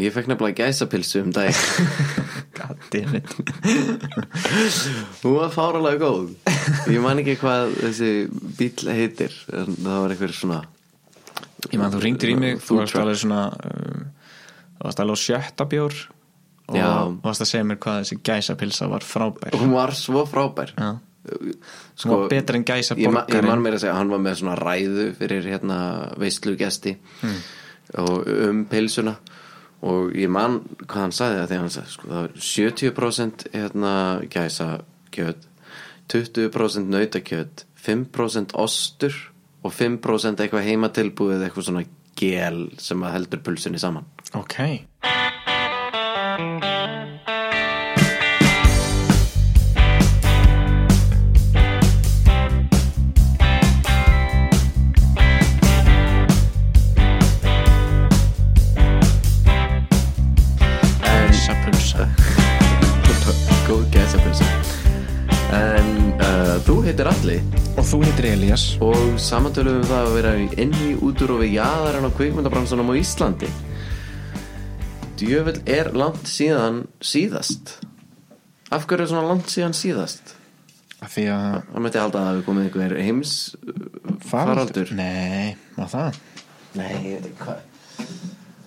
Ég fekk nefnilega gæsapilsu um dag Goddammit Hún var fáralega góð Ég man ekki hvað þessi bíl heitir En það var einhver svona Ég man þú ringdir í mig, Food þú varst truck. alveg svona um, Þú varst alveg á sjötta bjór Og Já. varst að segja mér hvað þessi gæsapilsa var frábær Hún var svo frábær Já. Hún var betra en gæsa Sko, Ég, ma- ég borgarinn. man meira að segja, hann var með svona ræðu fyrir hérna veistlugesti og um pilsuna og ég man hvað hann sagði það þegar hann sagði sko, það var 70% hérna gæsa kjöt 20% nautakjöt 5% ostur og 5% eitthvað heimatilbúið eitthvað svona gel sem að heldur pulsunni saman Ok Gæsapulsa Góð gæsa pilsa En uh, þú heitir Alli Og þú heitir Elías og samantöluðum við um það að vera inn í útur og við jaðarinn á kvikmyndabransunum á Íslandi Djöfell er langt síðan síðast Af hverju er svona langt síðan síðast? Af því að Það myndi halda að það hafi komið einhver heims uh, faraldur Nei, var það Nei, ég veit ekki hvað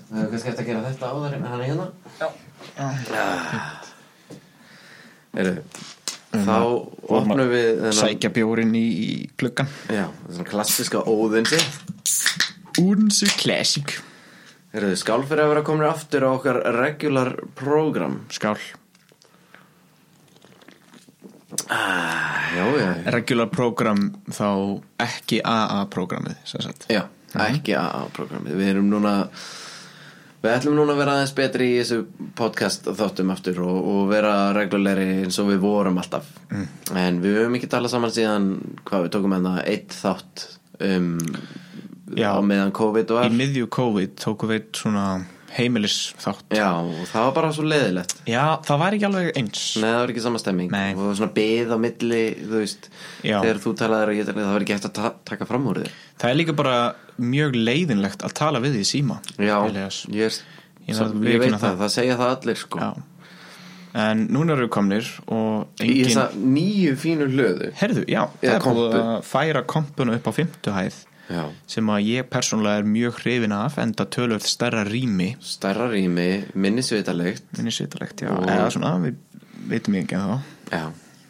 Við höfum kannski eftir að gera þetta áður en hann er hérna Eru, Ah. þá opnum við þennan- Sækja bjórin í, í klukkan Já, svona klassiska óðinsi Úrnsu Classic Eru þið skál fyrir að vera komin aftur á okkar regular program Skál ah, Já, já, já Regular program þá ekki AA programmið sem sagt. Já, ekki AA-programmið Við erum núna Við ætlum núna að vera aðeins betri í þessu podcast þáttum aftur og, og vera reglulegri eins og við vorum alltaf En við höfum ekki talað saman síðan hvað við tókum en það eitt þátt um, Já. á meðan COVID Í var miðju COVID tóku við eitt svona heimilis þátt Já, og það var bara svo leiðilegt Já, það var ekki alveg eins Nei, það var ekki sama stemming Nei. og það var svona beð á milli, þú veist Já. þegar þú talaðir og ég talaði, það var ekki eftir að ta taka fram úr þér Það er líka bara mjög leiðinlegt að tala við því síma Já, Elias. ég, er, Ég ég, ég veit verð að viðurkenna það, það. það, segja það allir sko Já. En núna eru við komnir og Í engin þessa nýju fínu hlöðu Herðu, já, það Eða er búið kompu. að færa kompuna upp á fimmtu hæð Já, sem að ég persónulega er mjög hrifin af enda tölvöld stærra rými stærra rými, minnisvitalegt minni svitalegt, já, eða svona við veitum ekki en þá, Já,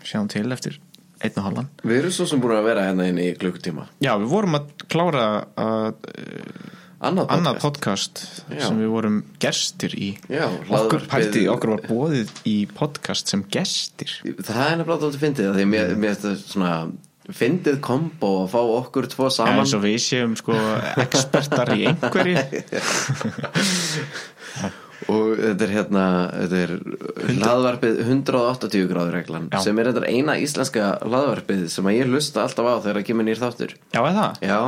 sjáum til eftir einn og halvan við erum svo sem búin að vera hérna inn í klukkutíma Já, við vorum að klára að, uh, Annað annað podcast podcast Já. sem við vorum gestir í Já, okkur, hlaðvarpið- pælti, okkur var bóðið í podcast sem gestir Það er nefnilega þáttu fyndið af því mér, mér þetta svona fyndið kombo að fá okkur tvo saman Saman. eins og við séum sko ekspertar í einhverju Og þetta er hérna þetta er hlaðvarpið 180 gráður reglan Já. sem er þetta eina íslenska hlaðvarpið sem að ég hlusta alltaf á þegar að kemur nýr þáttur Já, eða það? Já,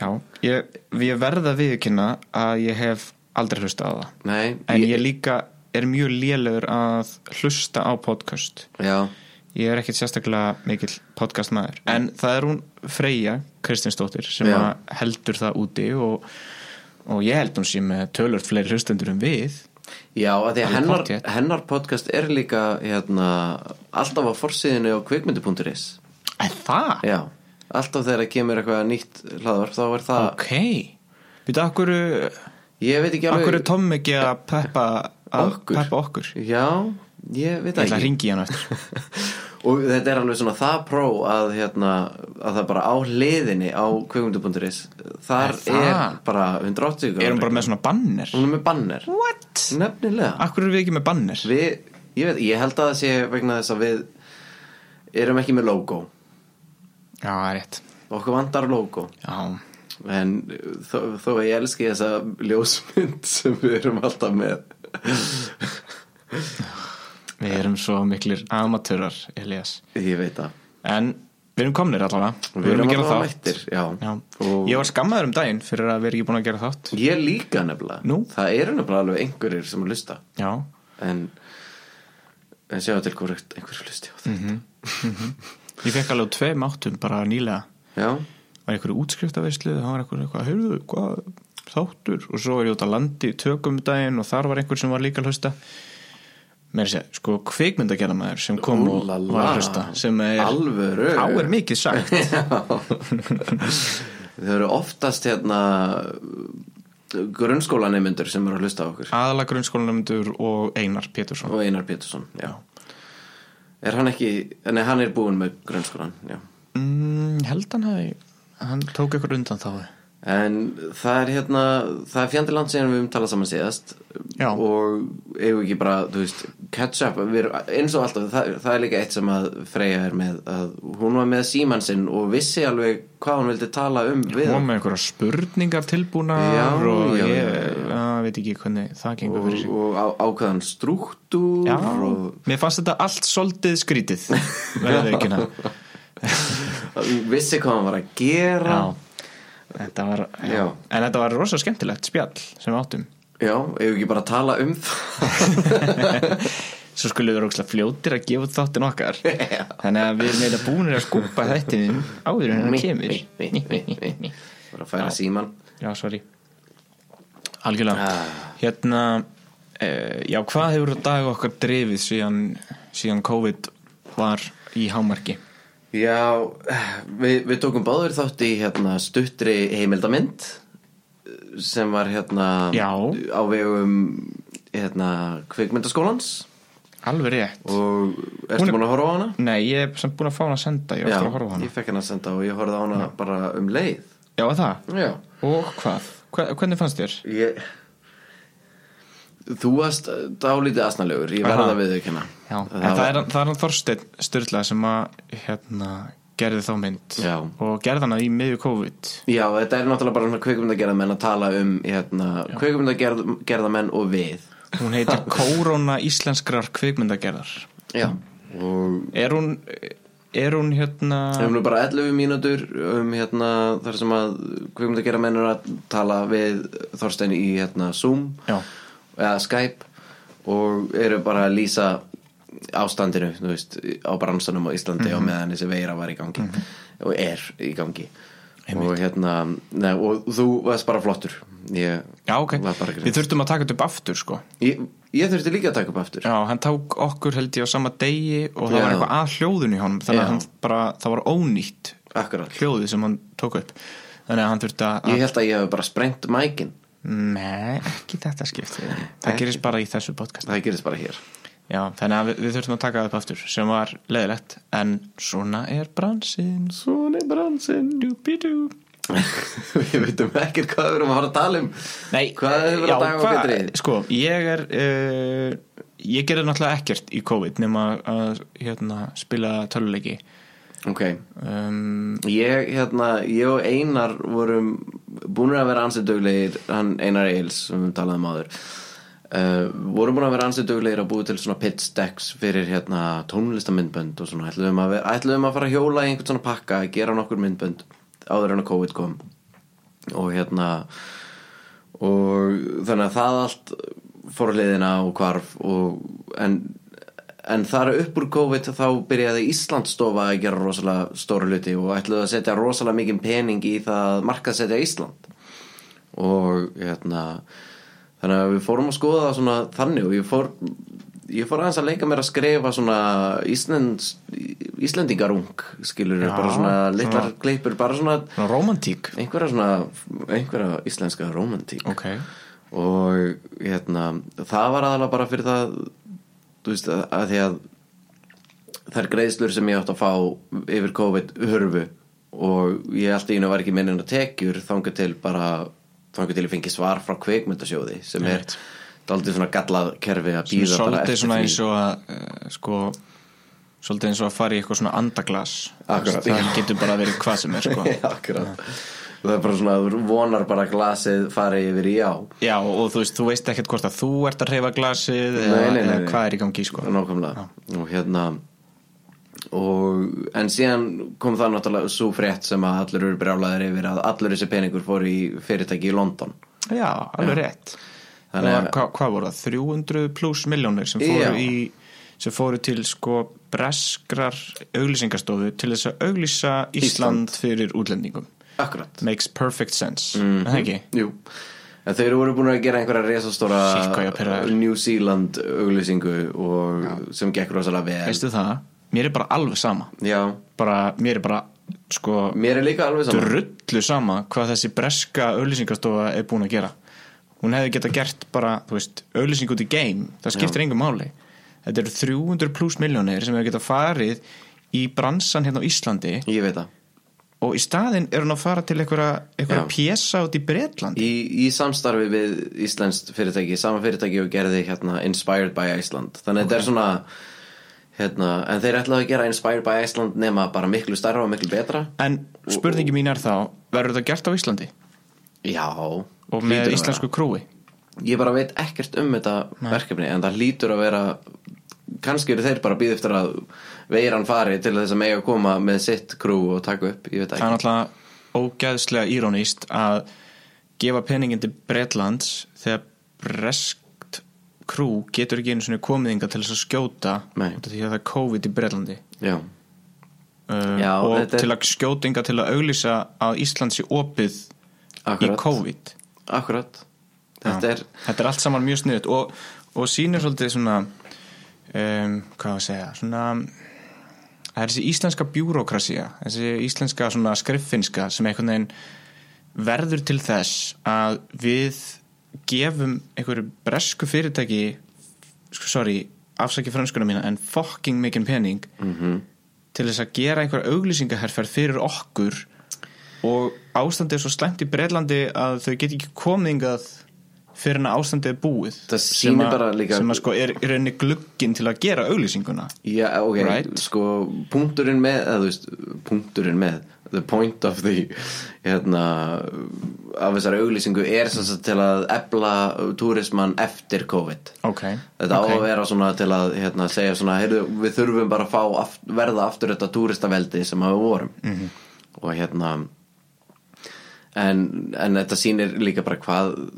Já, ég, ég verða viðkynna að ég hef aldrei hlusta á það nei en ég líka er mjög lélegur að hlusta á podcast Já, Ég er ekkert sérstaklega mikill podcast maður En það er hún Freyja Kristinsdóttir sem Já. að heldur það úti og, og ég held hún sé með tölvöld fleiri hlustendur en við já að því að Ég hennar, pottétt. hennar podcast er líka hérna, alltaf á forsíðinu á kvikmyndu.is En það? Já, alltaf þegar að kemur eitthvað nýtt hlaðvarp þá er það Ok Býta, akkur, Ég veit ekki akkur alveg er Tom ekki að peppa, að Okkur? peppa okkur? Já, ég veit Ég það ætla að ekki ringi hann eftir og þetta er alveg svona það pró að, hérna, að það bara á hliðinni á kveikmyndu.is þar Er það? er bara 180 Erum bara með svona banner? hún er með banner What? nefnilega Akkur eru við ekki með banner? við, ég, veit, ég held að það sé vegna þess að við erum ekki með logo Já, það er rétt okkur vantar logo Já, en þó, þó að ég elski þessa ljósmynd sem við erum alltaf með við erum svo miklir amatörar, Elias ég veit það En við erum komnir allavega Við Við erum erum að gera allavega þátt mættir, já. Og- Ég var skammaður um daginn fyrir að vera ekki búin að gera þátt ég líka nefnilega Nú? það eru nefnilega alveg einhverjir sem að lusta Já en en sjá til hvort einhver hlusti á þetta Ég fekk alveg tveim áttum bara nýlega já, Var einhverju útskriftaveislu Það var einhverju eitthvað Hörðu, hvað þáttur og svo er ég út á landi í tökum um daginn og þar var einhver sem var líka að hlusta mér sé, sko, kvikmyndagjara maður sem kom og Úlala. var að hlusta sem er, Alvöru. þá er mikið sagt Þau eru oftast hérna grunnskólanemendur sem eru að hlusta á okkur aðalega grunnskólanumundur og Einar Pétursson og Einar Pétursson, já Er hann ekki, nei hann er búinn með grunnskólan, já mm, held hann hafi hann tók ykkur undan þá En það er hérna, það er fjandiland síðan við höfum talað saman síðast Já. og eigum ekki bara, þú veist, catch up, við erum eins og alltaf, það, það er líka eitt sem að Freyja er með, að hún var með símann sinn og vissi alveg hvað hún vildi tala um við og með einhverja spurningar tilbúna Já, og já, ég já, já. að, veit ekki hvernig það gengur og, fyrir sig og á, ákveðan strúktúr Já, og mér fannst þetta allt soldið skrítið verður ekki það vissi hvað hann var að gera Já, þetta var Já. En þetta var rosa skemmtilegt spjall sem við áttum Já, eigum ekki bara að tala um það Svo skulle við rókslega fljótir að gefa út þáttin okkar Þannig að við erum eitthvað búinir að skúpa þættinum áður en hann kemur bara að færa símann Já, sorry Algjörlega Ah. Hérna, eh, já, hvað hefur dag okkar drifið síðan, síðan COVID var í hámarki? Já, við, við tókum báður þátt í hérna, stuttri heimildamind sem var hérna Já. á vegum hérna, kvikmyndaskólans Alveg rétt og ertu Hún- búin að horfa á hana? Nei, ég hef samt búin að fá hana að senda, ég var eftir að horfa á hana ég fekk hana að senda og ég horfði á hana bara um leið Já, var það? Já Og hvað? Hva, hvernig fannst þér? ég... Þú varst dálítið asnalegur, ég Aha. verða að viðaukina Já, en það er, það er hann Þorsteinn Sturla sem að hérna, gerði þá mynd Já. og gerði hana í miðju COVID Já, þetta er náttúrulega bara svona kvikmyndagerðamenn að tala um hérna, kvikmyndagerðamenn og við Hún heitir Kóróna Íslenskrar kvikmyndagerðar Já Og Er hún, er hún hérna Við höfum nú bara 11 mínútur um hérna þar sem að kvikmyndagerðamenn eru að tala við Þorstein í hérna Zoom Já. eða Skype og eru bara að lýsa ástandinu, þú veist, á bransanum á Íslandi og meðan þessi veira var í gangi og er í gangi og hérna, neð, og þú varst bara flottur ég, Já, ok, var bara við greið þurftum að taka þetta upp aftur sko ég, ég þurfti líka að taka upp aftur Já, hann tók okkur held ég á sama degi og það Já. var eitthvað að hljóðun í honum þannig Já. að hann bara, það var ónýtt akkurat, hljóðið sem hann tók upp þannig að hann þurfti að ég held að ég hef bara sprengt mækin, Nei, ekki þetta skipti Það gerist bara í þessu podcast það gerist bara hér Já, þannig að við, við þurfum að taka það upp aftur sem var leiðilegt en svona er bransin Svona er bransin Dúbidú Við veitum ekkert hvað við erum að fara að tala um Nei, eh, Hvað hefur verið að daga hvað- og betri Sko, ég er uh, ég gerði náttúrulega ekkert í COVID nema að hérna, spila töluleiki Ok, um, ég, hérna, ég og Einar vorum búin að vera ansinduglegir Hann Einar Eils sem við talaðum um áður uh, Vorum búin að vera ansinduglegir að búi til svona pitch decks fyrir hérna, tónlistamindbönd og svona ætluðum að, vera- ætluðum að fara að hjóla í einhvern svona pakka gera nokkur myndbönd áður en að COVID kom og hérna og þannig að það allt fór liðina og hvarf og en, en þar upp úr COVID þá byrjaði Íslandstofa að gera rosalega stóru hluti og ætluðu að setja rosalega mikið pening í það að markaðsetja Ísland og hérna þannig að við fórum að skoða það svona þannig og ég fór ég fór aðeins að leika mér að skrifa svona Íslends, Íslendingarung skilur Já, bara svona litlar svona- gleipur bara svona svona romantík einhverja svona einhverja íslenska romantík Ok, og hérna það var aðalega bara fyrir það þú veist að, að því að þær greiðslur sem ég átt að fá yfir COVID hörfu og ég allt í einu var ekki minni en að tekjur þangað til bara þangað til ég fengi svar frá kveikmyndasjóði sem er Einmitt. daldið svona gallað kerfi að býða bara svolítið eftir svona því. eins og að uh, sko, svolítið eins og að fara í eitthvað svona andaglas Akkurat, það já. getur bara verið hvað sem er sko. Akkurat það er bara svona að þú vonar bara að glasið fari yfir í já Já, og þú veist, þú veist ekkert hvort að þú ert að reyfa glasið Nei, eða, nei, nei, eða nei. hvað er í gangi, sko Nákvæmlega og hérna og en síðan kom það náttúrulega svo frétt sem að allir eru brjálaðir yfir að allir þessi peningur fór í fyrirtæki í London Já, alveg rétt Þannig Þannig að hva, hvað voru það? 300 pluss miljónir sem Já. fóru í sem fóru til sko breskrar auglýsingastofu til þess að auglýsa Ísland, fyrir útlendingum Akkurat Makes perfect sense, mm -hmm. ekki? Jú En þeir voru búin að gera einhverja Shit, hvað ég er resastóra pirraður. New Zealand auglýsingu og sem gekk rosalega vel veistu það, mér er bara alveg sama Já, bara, mér er bara sko, mér er líka alveg saman drullu sama hvað þessi breska auðlýsingastofa er búin að gera hún hefði geta gert bara, þú veist, auðlýsing út í game það skiptir engum máli þetta eru 300 pluss miljónir sem hefur geta farið í bransan hérna á Íslandi Ég veit það og í staðinn er hún að fara til einhverja, einhverja Já. pjesa út í Bretlandi í, í samstarfi við Íslands fyrirtæki sama fyrirtæki og gerði hérna Inspired by Iceland þannig að þetta er svona hérna, en þeir ætlaðu að gera Inspired by Iceland nema bara miklu starra og miklu betra en spurningi mín er þá verður þetta gert á Íslandi já og hlýtur með að íslensku krúi vera. ég bara veit ekkert um þetta verkefni en það lítur að vera kannski eru þeir bara að býða eftir að veiran fari til þess að mega koma með sitt krú og taka upp, ég veit það ekki er náttúrulega ógæðslega írónist að gefa peningin til Bretlands þegar breskt krú getur ekki einu svona komiðinga til þess að skjóta Nei. út af því að það er COVID í Bretlandi já, uh, Já, og þetta er- til að skjótinga til að auglýsa að Ísland sé opið Akkurat. í COVID akkurat þetta Já. er, þetta er allt saman mjög sniðut og, og sýnir svolítið svona um, hvað á að segja svona það er þessi íslenska bjúrokrasía þessi íslenska svona skriffinska sem einhvern veginn verður til þess að við gefum einhverju bresku fyrirtæki sko, sorry, afsaki franskuna mína en fucking mikinn pening -hmm. Mhm. til þess að gera einhver auglýsingaherferð fyrir okkur og ástandið er svo slæmt í Breitlandi að þau get ekki komingað fyrir en að ástandið er búið Það sem sýnir að- bara líka- sem að sko er, er enni glugginn til að gera auglýsinguna Já, ok, Right. sko punkturinn með, eða þú veist punkturinn með, the point of the hérna af þessari auglýsingu er sem sagt til að ebla túrismann eftir COVID ok, Þetta á að vera svona til að hérna, segja svona, heyrðu, við þurfum bara að fá aft, verða aftur þetta túristaveldi sem að við vorum Mhm. -hmm. og hérna en, en þetta sýnir líka bara hvað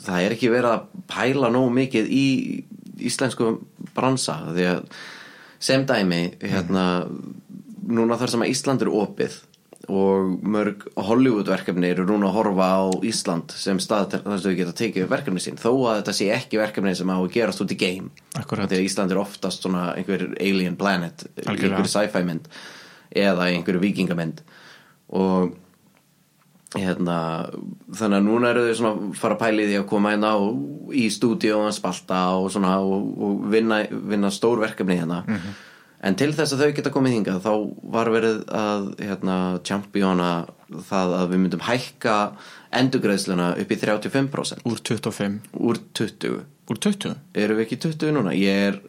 það er ekki verið að pæla nógu mikið í íslensku bransa því að sem dæmi hérna, núna þar sem að Ísland er opið og mörg Hollywood-verkefni eru núna að horfa á Ísland sem stað til- þar sem þau geta tekið verkefni sín þó að þetta sé ekki verkefni sem á að gerast út í game Akkúrat. því að Ísland er oftast svona einhver alien planet Algjörlega. einhver sci-fi mynd eða einhver vikingamynd og hérna þannig að núna eru þau svona að fara að pæli því að koma hérna á, í stúdíu og spalta og svona og, og vinna, vinna stór verkefni hérna Mhm. en til þess að þau geta komið hingað þá var verið að hérna, championa það að við myndum hækka endugreðsluna upp í 35% úr 25, úr 20 úr 20 eru við ekki 20 núna? Ég er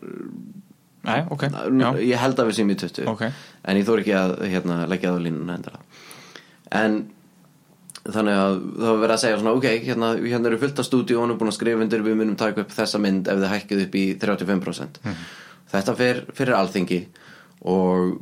Nei, ok, já, ég held að við séum í 20 Ok. en ég þóri ekki að hérna, leggja það á línuna endara en þannig að það var verið að segja svona ok, hérna, hérna eru fullt af stúdíu og hún er búin að skrifa undir við munum taka upp þessa mynd ef þið hækkið upp í 35% Mhm. þetta fer fyrir alþingi og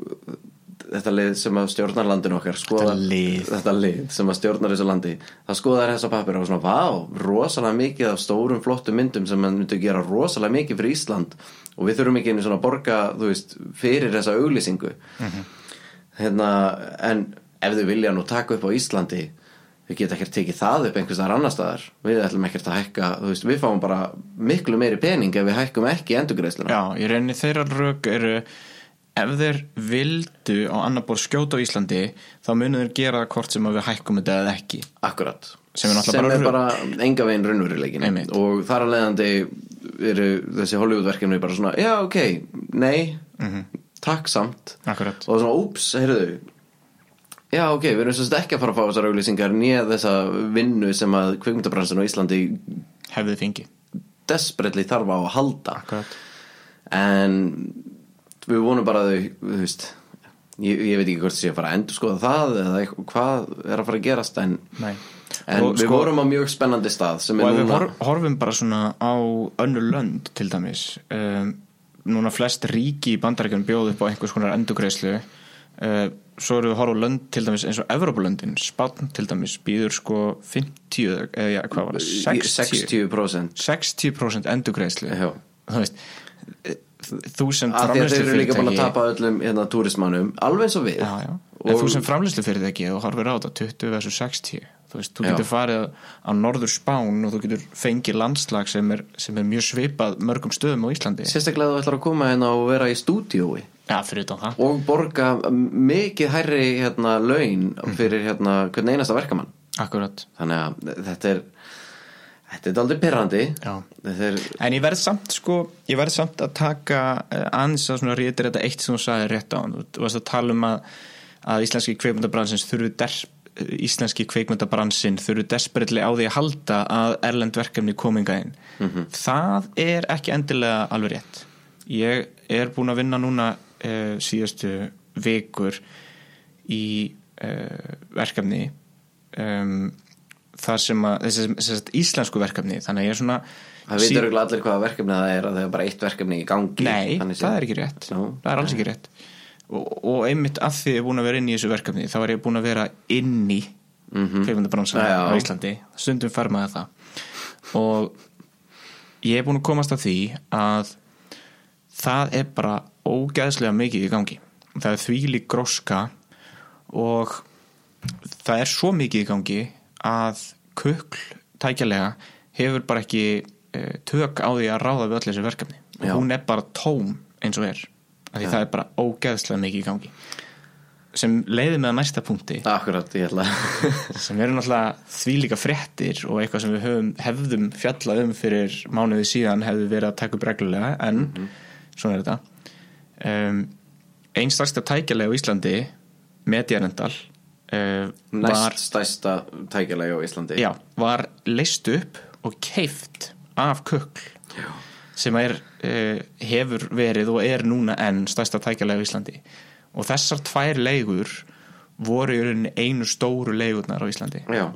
þetta lið sem að stjórnar landinu okkar skoða, Þetta lið. þetta lið sem að stjórnar þessu landi það skoðar þessa pappir og svona vá, rosalega mikið af stórum flottum myndum sem mann myndi gera rosalega mikið fyrir Ísland og við þurfum ekki einu svona að borga þú veist, fyrir þessa auglýsingu Mhm. hérna, en ef þau vilja nú taka upp á Íslandi við geta ekkert tekið það upp einhvers þar annar staðar við ætlum ekkert að hækka þú veist, við fáum bara miklu meiri pening ef við hækkum ekki endurgreiðsluna já, ég reyni þeirra rök eru ef þeir vildu á annar borð skjóta á Íslandi þá munu þeir gera það hvort sem að við hækkum þetta eða ekki Akkurat Sem er náttúrulega Sem er bara bara enga veginn raunveruleikin Einmitt. Og þar að leiðandi eru þessi Hollywood-verkefni bara svona Já, ok, nei, Mhm. takk samt Akkurat. Og svona, úps, heyrðu Já, ok, við erum sérst ekki að fara að fá þessar auglýsingar Nýja þessa vinnu sem að kvikmyndabransin á Íslandi hefðu fengi Desperately þarf á að halda Akkurat. En við vonum bara að þau, þú veist Ég, ég veit ekki hvort sé að fara að endurskoða það eða eitthvað, hvað er að fara að gerast en Nei. En Og við sko- vorum á mjög spennandi stað sem og er ef við núna hor horfum bara svona á önnur lönd til dæmis um, núna flest ríki í bandarækjum bjóð upp á einhvers konar endugreislu uh, svo eru við að horfa á lönd til dæmis eins og Evropalöndin, Spátn til dæmis býður sko 50 eða ja, hvað var það, 60 60% 60% endugreislu Já. þú veist eh, þú sem af því að þeir framleiðslu eru líka búin að tapa öllum hérna, túrismannum, alveg eins og við já, já. og En þú sem framleiðslu fyrirtæki og horfir á þetta 20 versus 60 þú veist, þú Já. getur farið á norður Spán og þú getur fengið landslag sem er, sem er mjög svipað mörgum stöðum á Íslandi Sérstaklega þú ætlar að koma hérna og vera í stúdíói Já, fyrir utan það og borga mikið hærri hérna, laun fyrir hérna, hvern einasta verkamann Akkurat þannig að þetta er þetta er aldrei pirrandi Já. þetta er En ég verð samt sko, ég verð samt að taka eh, aðeins að svona réttir þetta eitt sem þú sagði rétt á hann. Þú varst að tala um að, að íslenski kveikmyndabransins þurfu der, íslenski kveikmyndabransin þurfu desperately á því að halda að erlend verkefni kominga inn. Það er ekki endilega alveg rétt. Ég er búin að vinna núna uh, síðastu vikur í uh, verkefni um, þar sem að þessi, þessi, þessi íslensku verkefni þannig að ég er svona Það sí- veitur sí. allir hvaða verkefni það er að það er bara eitt verkefni í gangi Nei, Þannig sé- það er ekki rétt Nú, Það er alls ekki rétt og, og einmitt að því ég er búin að vera inn í þessu verkefni þá er ég búin að vera inn í kveikmyndabransan Mhm. Já, já. á Íslandi stundum fær maður það og ég er búin að komast að því að það er bara ógæðslega mikið í gangi það er þvílík gróska og það er svo mikið í gangi að kukl tækjalega hefur bara ekki eh, tök á því að ráða við öll þessi verkefni Já. hún er bara tóm eins og er af því það er bara ógæðslega mikið í gangi sem leiði með að næsta punkti Akkurat, ég ætla sem eru náttúrulega þvílíka fréttir og eitthvað sem við höfum, hefðum fjallað um fyrir mánuði síðan hefðu verið að taka upp reglulega en svona er þetta um, einn stærsta tækjalega á Íslandi Mediarendal uh, Næst var, stærsta tækjalegi á Íslandi já, var leist upp og keift af kökl Já. sem er, uh, hefur verið og er núna enn stærsta tækjalega á Íslandi og þessar tvær leigur voru í rauninni einu stóru leigurnar á Íslandi Já.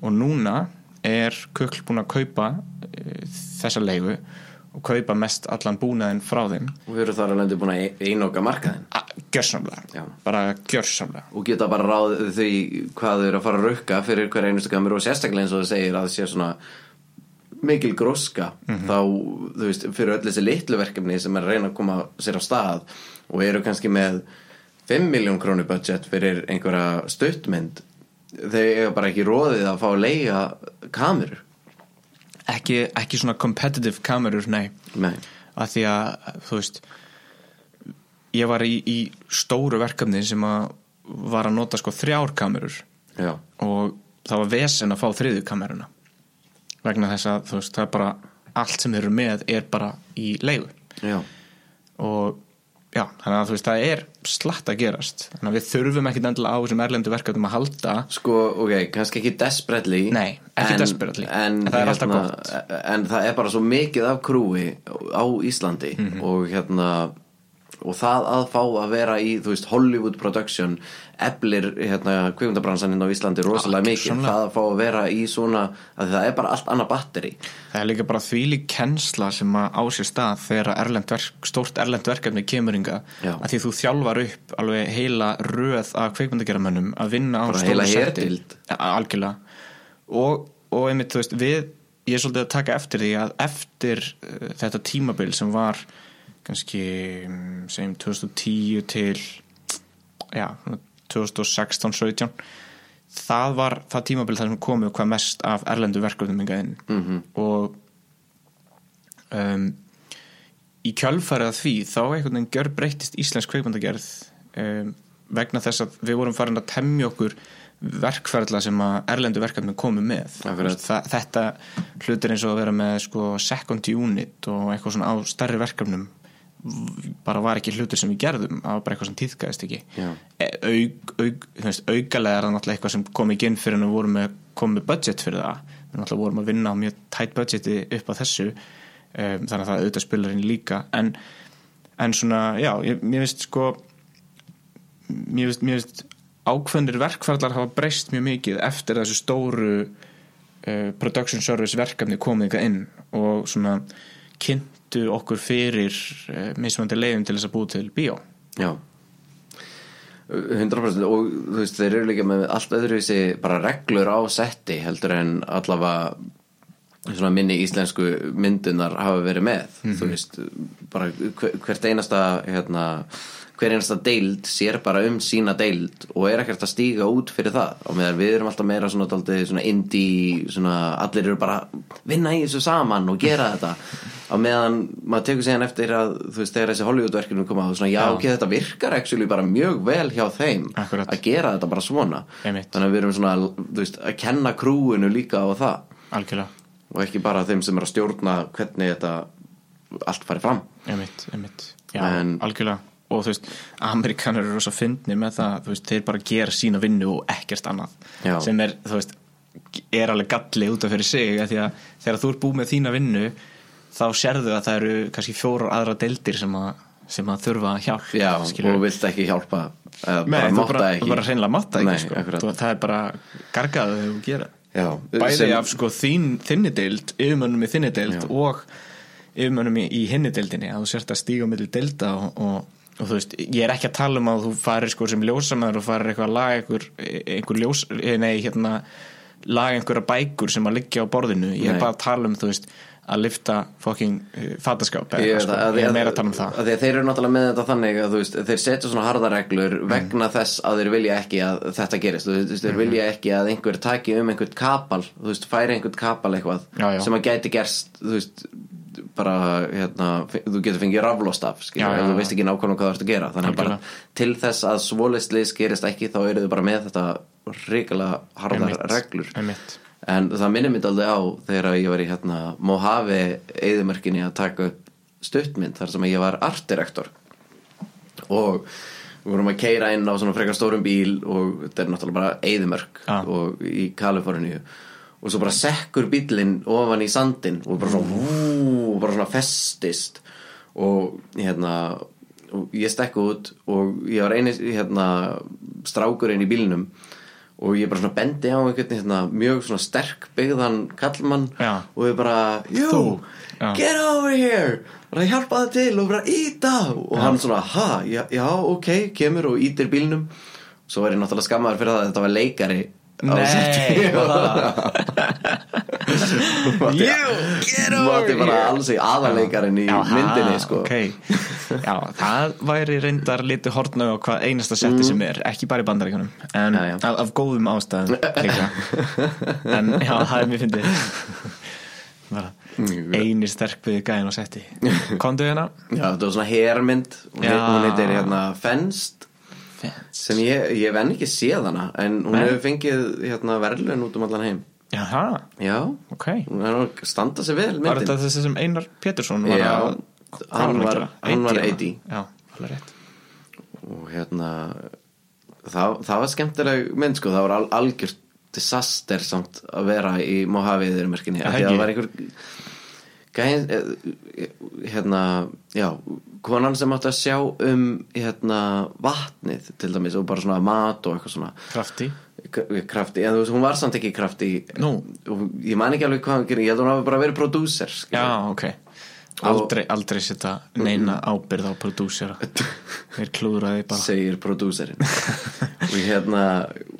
og núna er kukl búin að kaupa e, þessa leigu og kaupa mest allan búnaðin frá þeim og við erum þar alveg búin að ein- einoka markaðin A, gjörsamlega, Já. bara gjörsamlega og geta bara ráðið því hvað þau eru að fara að rukka fyrir hver einustu kameru og sérstaklega eins og þau segir að það sé svona mikil gróska þá, þú veist, fyrir öll þessi litlu verkefni sem er að reyna að koma sér á stað og eru kannski með 5 miljón krónu budget fyrir einhverja stuttmynd þau eru bara ekki róðið að fá að leiga kamerur ekki, ekki svona competitive kamerur, nei Nei. að því að, þú veist ég var í, í stóru verkefni sem að var að nota sko þrjár kamerur Já, og það var vesen að fá þriðu kameruna vegna þess að þú veist, það er bara allt sem þeir eru með er bara í leigu já, og já, þannig að þú veist, það er slatt að gerast þannig að við þurfum ekkit endilega á þessum erlendu verkefnum að halda Sko, ok, kannski ekki desperately Nei, ekki desperately, En, en það er alltaf gott En það er bara svo mikið af krúi á Íslandi Mhm. og hérna og það að fá að vera í, þú veist, Hollywood production eflir, hérna, kvikmyndabransaninn á Íslandi rosalega mikið, gjörsamlega. það að fá að vera í svona, að það er bara allt annað batteri það er líka bara þvílík kennsla sem að á sér stað þegar að erlend verk, stórt erlend verkefni kemur inga Já. að því þú þjálfar upp alveg heila röð af kveikmyndageramönnum að vinna á Bara stóru heila setti. herdeild. Ja, algjörlega og, og einmitt, þú veist, við ég er svolítið að taka eftir því að eftir uh, þetta tímabil sem var kannski, mm, segjum 2010 til já, 2016-17 það var það tímabil þar sem komu hvað mest af erlendu verkefnum inga inn -hmm. og um, í kjölfarið að því þá einhvern veginn gjör breytist íslensk kveikmyndagerð um, vegna þess að við vorum farin að temja okkur verkferðla sem að erlendu verkefnum komu með Akkurat. Þa, þetta hlutir eins og að vera með sko, second unit og eitthvað svona á stærri verkefnum v- bara var ekki hlutur sem við gerðum það var bara eitthvað sem týðgæðist ekki Já. E- auk, auk, þú veist, aukalega er það náttúrulega eitthvað sem kom ekki inn fyrir en við vorum með, kom með budget fyrir það við náttúrulega vorum að vinna á mjög tætt budgeti upp á þessu um, þannig að það auðvitað spilar inn líka en, en svona, já, ég, mér finnst sko mér finnst, mér finnst ákveðnir verkfærlar hafa breyst mjög mikið eftir þessu stóru uh, production service verkefni komið eitthvað inn og svona kynntu okkur fyrir uh, mismandi leiðum til þess að búi til bíó Já 100% og þú veist þeir eru líka með allt öðruvísi bara reglur á setti heldur en allavega svona minni íslensku myndunar hafa verið með þú Mhm. veist, bara hver- hvert einasta hérna, hver einasta deild sér bara um sína deild og er ekkert að stíga út fyrir það og meðan við erum alltaf meira svona, daldið, svona indie, svona, allir eru bara að vinna í þessu saman og gera þetta á meðan maður tekur síðan eftir að þú veist, þegar þessi Hollywoodverkinu koma á svona, já, ok, þetta virkar actually bara mjög vel hjá þeim Akkurat. að gera þetta bara svona Einmitt. þannig að við erum svona, þú veist, að kenna krúinu líka á það algjörlega og ekki bara þeim sem er að stjórna hvernig þetta allt fari fram Einmitt, einmitt. Já, En- algjörlega og þú veist, Amerikanar eru rosa fyndni með það, þú veist, þeir bara gera sína vinnu og ekkert annað Já. sem er, þú veist, er alveg galli út af fyrir sig, af því að þegar þú ert búið með þína vinnu, þá sérðu að það eru kannski fjórar aðra deildir sem að, sem að þurfa hjálp já, skilurðu. og vilt ekki hjálpa eða Nei, bara þú máta bara, ekki þú bara hreinlega mátta ekki Nei, sko. akkurat. þú, það er bara gargaðu þegar þú gera Já, bæði sem- af sko þín, þinni deild yfirmönnum í þinni deild og yfirmönnum í, í hinni deildinni að þú sért að stíga á milli deilda og, og, og þú veist, ég er ekki að tala um að þú farir sko sem ljósamæður og farir eitthvað að laga einhver, einhver ljós, eh, nei hérna laga einhverja bækur sem að liggja á borðinu ég er Nei. bara að tala um, þú veist að lifta fokking uh, fataskáp eða Ég, eitthvað, veit sko. að- ég er meira að tala um það að því að þeir eru náttúrulega með þetta þannig að þú veist, þeir setja svona harðareglur Mm. vegna þess að þeir vilja ekki að þetta gerist þú veist, Mhm. þeir vilja ekki að einhver taki um einhvert kapal, þú veist, færi einhvert kapal eitthvað Já, já. sem að gæti gerst þú veist, bara hérna, f- þú getur fengið raflost af skilur, Já, já, ef þú já. veist ekki nákvæmlega hvað þú ert að gera þannig að bara til þess að svoleislis gerist ekki þá eru þau bara með þetta ríkilega harðar Einmitt, reglur einmitt. En það minnir mér aldrei á þegar ég var í hérna, Mojave eðumörkinni að taka upp stuttmynd þar sem ég var artdirektor og við vorum að keira inn á svona frekar stórum bíl og þetta er náttúrulega bara eðumörk Ah. og í Kaliforníu og svo bara sekkur bílinn ofan í sandin og bara svona vú, og bara svona festist og hérna og ég stekk út og ég var eini hérna, strákurinn í bílnum og ég bara svona bendi á einhvern hérna, mjög svona sterk byggðan kallmann Já. og ég bara, jú, Þú. Já. get over here bara hjálpa það til og bara íta og hann svona, ha, já, já, ok kemur og ítir bílnum svo var ég náttúrulega skammaður fyrir það að þetta var leikari á Nei, setti. var það? Mátti- You, get over mátti bara here. alls í aðarleikarinn í Jaha, myndinni sko. ok. Já, það væri reyndar litið hortna á hvað einasta setti sem er ekki bara í bandaríkunum en Mm. Já, já. Af, af góðum ástæðum líka en já, það er mér fyndið bara eini sterk við gæðin á setti komdu hérna já, þetta var svona hermynd hún, Já. hún heitir hérna Fenst sem ég, ég venn ekki séð hana en hún Nei. hefur fengið hérna, verðlun út um allan heim Jaha, já, ok hún er að standa sig vel Var myndin þetta þessi sem Einar Pétursson var Já, að hvað hann að var- gera? hann var 80. 80. Já, alveg rétt og hérna það, það var skemmtileg mynd sko, það var al, algjört disaster samt að vera í Mojave-eðurmerkinni Já, af því að ekki. það var einhver gæn, eh, hérna já, konan sem átti að sjá um hérna vatnið til dæmis og bara svona mat og eitthvað svona Krafti K- krafti, en þú veist, hún var samt ekki krafti Nú. og ég man ekki alveg hvað hún gerir ég held að hún hafi bara verið prodúser Já, ok Aldrei, aldrei setja neina ábyrð á prodúsera Mér klúðraði bara segir prodúserinn og hérna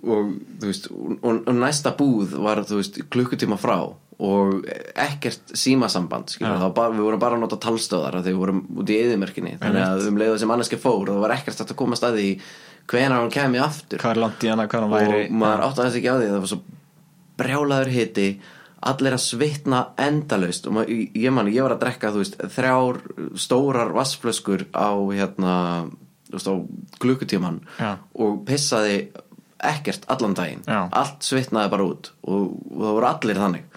og, þú veist, og, og næsta búð var þú veist, klukkutíma frá og ekkert símasamband ja. bara, við vorum bara að nota talstöðar af því við vorum út í eðimerkinni þannig að um leiðu þessi manneski fór það var ekkert hægt að komast að því hvenær hún kemi aftur Hvað er langt í hana, hvað hann væri og maður átti aðeins ekki á því það var svo brjálaður hiti allir að svitna endalaust og maður, ég man, ég var að drekka þú veist, þrjár stórar vassflöskur á hérna þú veist, á klukkutíman Já. og pissaði ekkert allan daginn, Já. allt svitnaði bara út og, og það voru allir þannig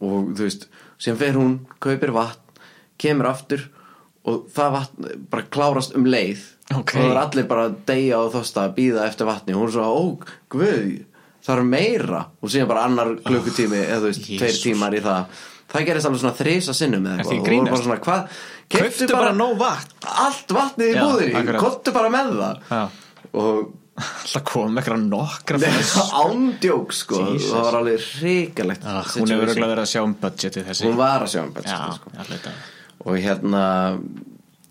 og þú veist, sem fer hún kaupir vatn, kemur aftur og það vatn bara klárast um leið og Ok. það er allir bara að deyja og þosta að býða eftir vatni og hún er svo, ó, guð það er meira og síðan bara annar Ah, klukkutími eða þú veist, Jesus. tveir tímar í það það gerist alveg svona þrisa sinnum eða Ertu eitthvað í og þú grínast? bara svona, hvað, Kauptu bara, bara nóg vatn allt vatnið í Já, búðinni, akkurat. kottu bara með það Já. og Það kom eitthvað nokkra flöss ándjók sko, Jesus. það var alveg hrikalegt Ah, Hún situation. hefur örugglega verið að sjá um budgetið þessi hún var að sjá um Já, bett allir þetta og hérna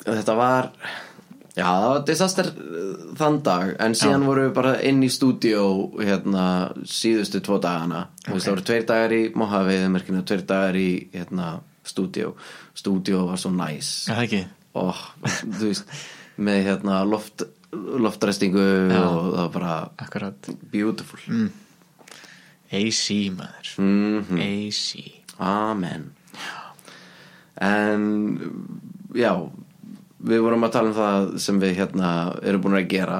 þetta var Já, það var disaster uh, þann dag en síðan vorum við bara inn í stúdíó hérna síðustu tvo dagana okay. veist, það voru tveir dagar í Mohaveiðumörkinu tveir dagar í hérna stúdíó stúdíó var svo næs Er það ekki? og þú veist með hérna loft, loftrestingu og það var bara Akkurat beautiful AC maður Mhm. AC Amen En já við vorum að tala um það sem við hérna erum búin að gera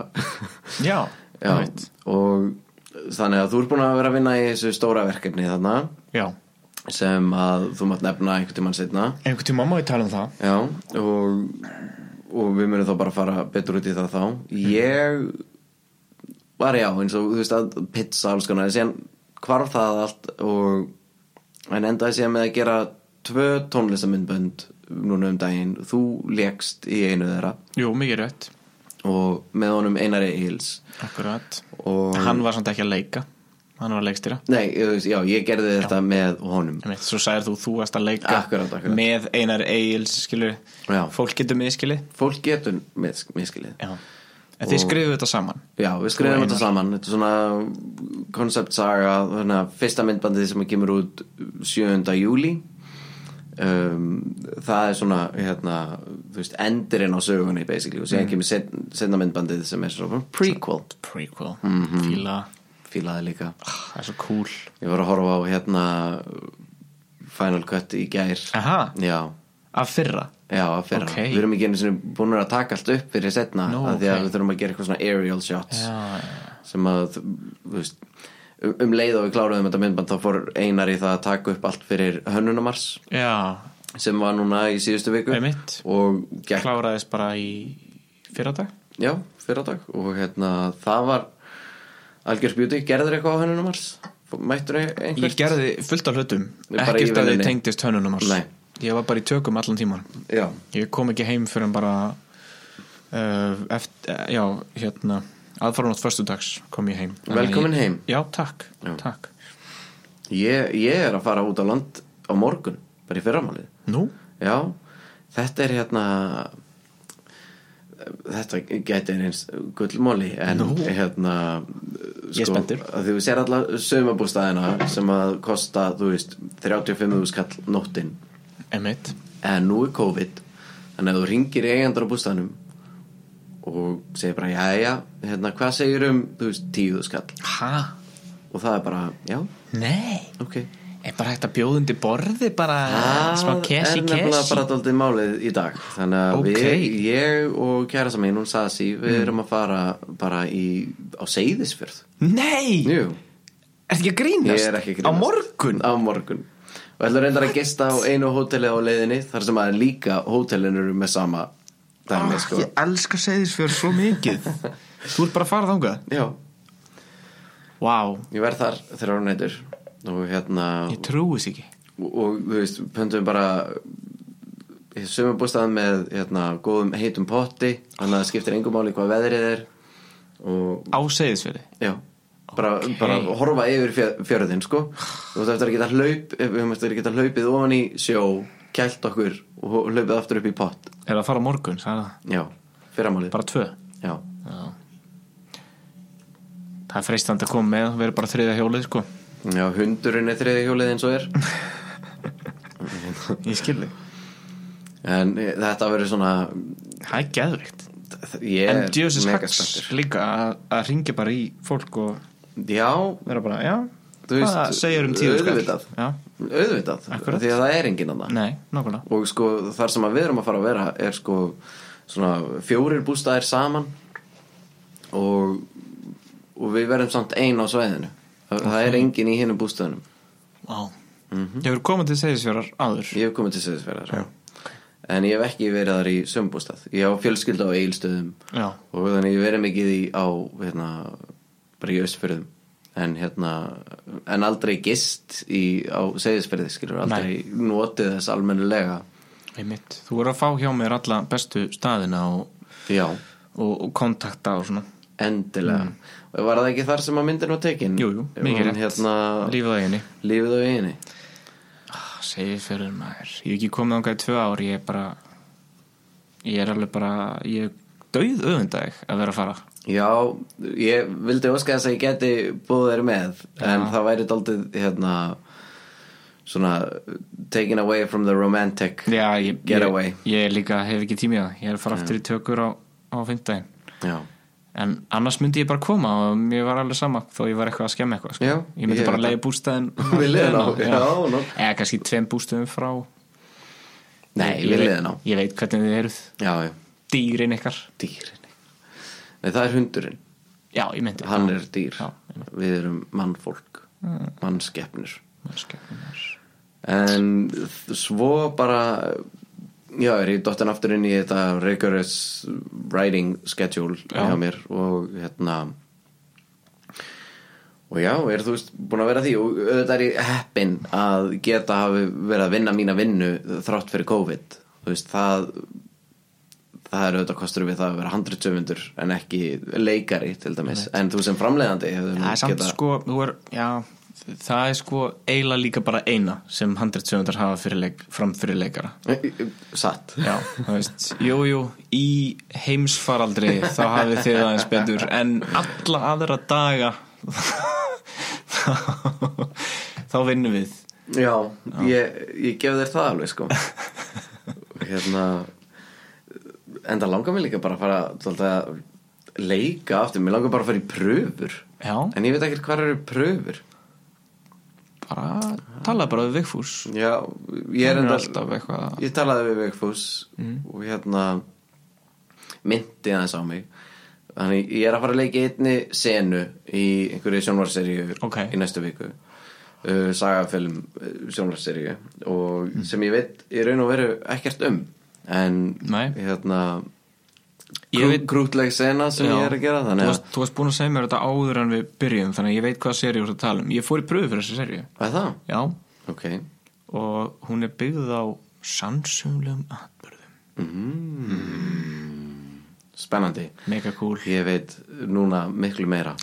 Já, Já, einmitt. og þannig að þú ert búin að vera að vinna í þessu stóra verkefni þarna Já, sem að þú mátt nefna einhvern tímann setna einhvern tíma má ég tala um það Já, og, og við munum þá bara fara betur út í það þá Ég var já, eins og þú veist að pizza alls konar, en síðan hvarf það allt og en endaði síðan með að gera tvö tónlistamindbönd núna um daginn þú lékst í einu þeirra Jú, mikið rétt og með honum Einari Eils Akkurat og Hann var samt ekki að leika Hann var að leikstýra Nei, þú veist, já, ég gerði þetta með honum Einmitt, Svo sagðir þú þú varst að leika Akkurat, akkurat. Með Einar Egils, skilur Já. Fólk getur miðskilið Fólk getur mis miskilið Já En þið skrifuðu þetta saman Já, við skrifum þetta saman Þetta er svona konceptsaga þannig að fyrsta myndbandið sem kemur út 7. júli um, það er svona hérna, þú veist, endurinn á sögunni basically og síðan Mm. kemur setna, setna myndbandið sem er svona prequel Mhm. Prequel mm -hmm. Fíla fílaði líka Ah, Það er svo cool Ég var að horfa á hérna Final Cut í gær Aha, Já, af fyrra já, að fyrra Ah. Ok. Við erum ekki einu sinni búin að taka allt upp fyrir setna Nú, að því að ok. við þurfum að gera eitthvað svona aerial shots Já, sem að þú þú veist, um- um leið og við kláruðum þetta myndband þá fór einar í það að taka upp allt fyrir hönnunumars já sem var núna í síðustu viku Einmitt. og gekk, Kláraðist bara í fyrradag já, fyrir dag og hérna það var algjör spjúti, gerður eitthvað á hönnunumars? Mættur Ég einhvert? gerði fullt af hlutum Bara í Ekkert að þið vinnunni. tengdist hönnunum hans Nei. Ég var bara í tökum allan tíman Já, Ég kom ekki heim fyrir en bara uh, eftir, Já, hérna Aðfarunótt föstudags kom ég heim Þannig að Velkomin ég- heim. Já, takk, takk. ég, ég er að fara út á land á morgun, bara í fyrramálið Nú? Já, þetta er hérna þetta gæti eins gullmóli en hérna sko, Ég er spenntur. að því við sér alltaf sömabústæðina sem að kosta, þú veist 35.000 kall nóttin Emmett en nú er COVID þannig að þú ringir í eigandur á bústæðanum og segir bara jæja, hérna, hvað segir um þú veist, 10.000 kall Ha? og það er bara, já, Nei ok Er bara hægt að bjóða undir borði bara Smá Það kessi er nefnilega kessi bara daldið málið í dag þannig að Ok. Mm. við, ég og kæra samin hún Sassi, við erum að fara bara í, á Seyðisfjörð Nei, Jú, ertu ekki að grínast? ég er ekki að Á grínast. Ah, morgun? Á morgun og ætlum reyndar að gista á einu hóteli á leiðinni þar sem að líka hótelin eru með sama dæmi Ah, sko Ég elska Seyðisfjörð svo mikið Þú ert bara að fara þangað Já, Vá, wow, ég verð þar þrjár nætur og hérna ég trúi þess ekki og, og þú veist, pöntum bara sömum bústaðan með hérna, góðum heitum potti þannig að það skiptir engum máli hvað veðrið er og Á Seyðisfjörði já bara, Ok. bara horfa yfir fjö- fjörðin sko. þú veist eftir að geta hlaup eh, við höfum eftir að geta hlaupið ofan í sjó kælt okkur og hlaupið aftur upp í pott Er það að fara á morgun, sagði það já, fyrramálið Bara tvö já, Það er freistandi að koma með, það verður bara þriðja hjólið sko já hundurinn er þriði hjólið eins og er Ég skil þig en eh, þetta verður svona Það er geðvikt ég En er djöfisins mega haks spenntur. líka að, að ringja bara í fólk og já, vera bara, já Þú veist, Hvað segir um tíu auðvitað. Já, auðvitað Akkurat. því að það er enginn annað nei, nákvæmlega og sko þar sem að við erum að fara að vera er sko svona fjórir bústæðir saman og, og við verðum samt ein á svæðinu það, það er engin í hinnum bústæðinum Vá Mhm. Ég hefur komið til Seyðisfjörðar áður ég hef komið til Seyðisferðar en ég hef ekki verið þar í sömbústæð ég á fjölskylda á eigilstöðum Já. og þannig ég verið mikið í á hérna, bara í östferðum en hérna en aldrei gist í, á Seyðisferði skilur aldrei notið þess almennilega Einmitt. Þú voru að fá hjá mér alla bestu staðina og, já og, og kontakta og svona Endilega Var það ekki þar sem að myndin var tekin? Mm. Jú, jú, mikið Hún rétt hérna, Lífið að eini Lífið á eini Segir fyrir maður Ég hef ekki komið ánga í tvö ár Ég er bara Ég er alveg bara Ég döið öfundag að vera að fara Já, ég vildi óska þess að ég geti búið þeir með en það væri daldið hérna svona taken away from the romantic Já, ég, Getaway. ég, ég líka hef ekki tími á það ég er að fara aftur í tökur á, á fimmtdægin Já, en annars myndi ég bara koma og mér var alveg sama þó ég var eitthvað að skemma eitthvað sko. Já, ég myndi ég bara veit leiði bústæðin Við hliðina á, já, nú. eða kannski tveim bústæðum frá Nei, Ég- við ég veit- hliðina á. ég veit hvernig þið eruð já, já, dýrin ykkar dýrin Nei, það er hundurinn, já, ég myndi hann er dýr Já, Mm. Við erum mannfólk mannskeppnir Skepnur. en þ- svo bara já, er ég dottin aftur inn í þetta rigorous writing schedule hjá mér og hérna og já, er þú veist búin að vera því og auðvitað er ég heppin að geta hafi verið að vinna mína vinnu þrátt fyrir COVID þú veist, það það er auðvitað kostur við það að vera handritsöfundur en ekki leikari til dæmis en þú sem framleiðandi hefur það er samt sko þú er, já, það er sko eiginlega líka bara eina sem 100 sögundar hafa fyrir leik, fram fyrir leikara Eh, satt Já, þú veist, jú, jú, í heimsfaraldri þá hafið þið aðeins betur en alla aðra daga þá, þá vinnum við Já, Ég, ég gef þér það alveg sko Hérna En það langar mér líka bara að fara dálítið að leika aftur, mér langar bara að fara í pröfur Já, En ég veit ekkert hvað eru pröfur bara tala bara við Vigfús Já, ég er enda alltaf eitthvað Ég talaði við Vigfús Mm. og hérna myndi aðeins á mig Þannig ég er að fara að leika í einni senu í einhverju sjónvarseríu Ok. í næstu viku uh, sagafilm uh, sjónvarseríu og Mm. sem ég veit í raun og veru ekkert um en Nei. hérna Ég grú, veit- grútleg sena sem ég er að gera þú þannig að, varst, þú varst búin að segja mér þetta áður en við byrjum þannig að ég veit hvaða serið þú ert að tala um Ég fór í pröfu fyrir þessa serið að það, Já, ok og hún er byggð á sannsumlegum atbyrðum spennandi Mega cool Ég veit núna miklu meira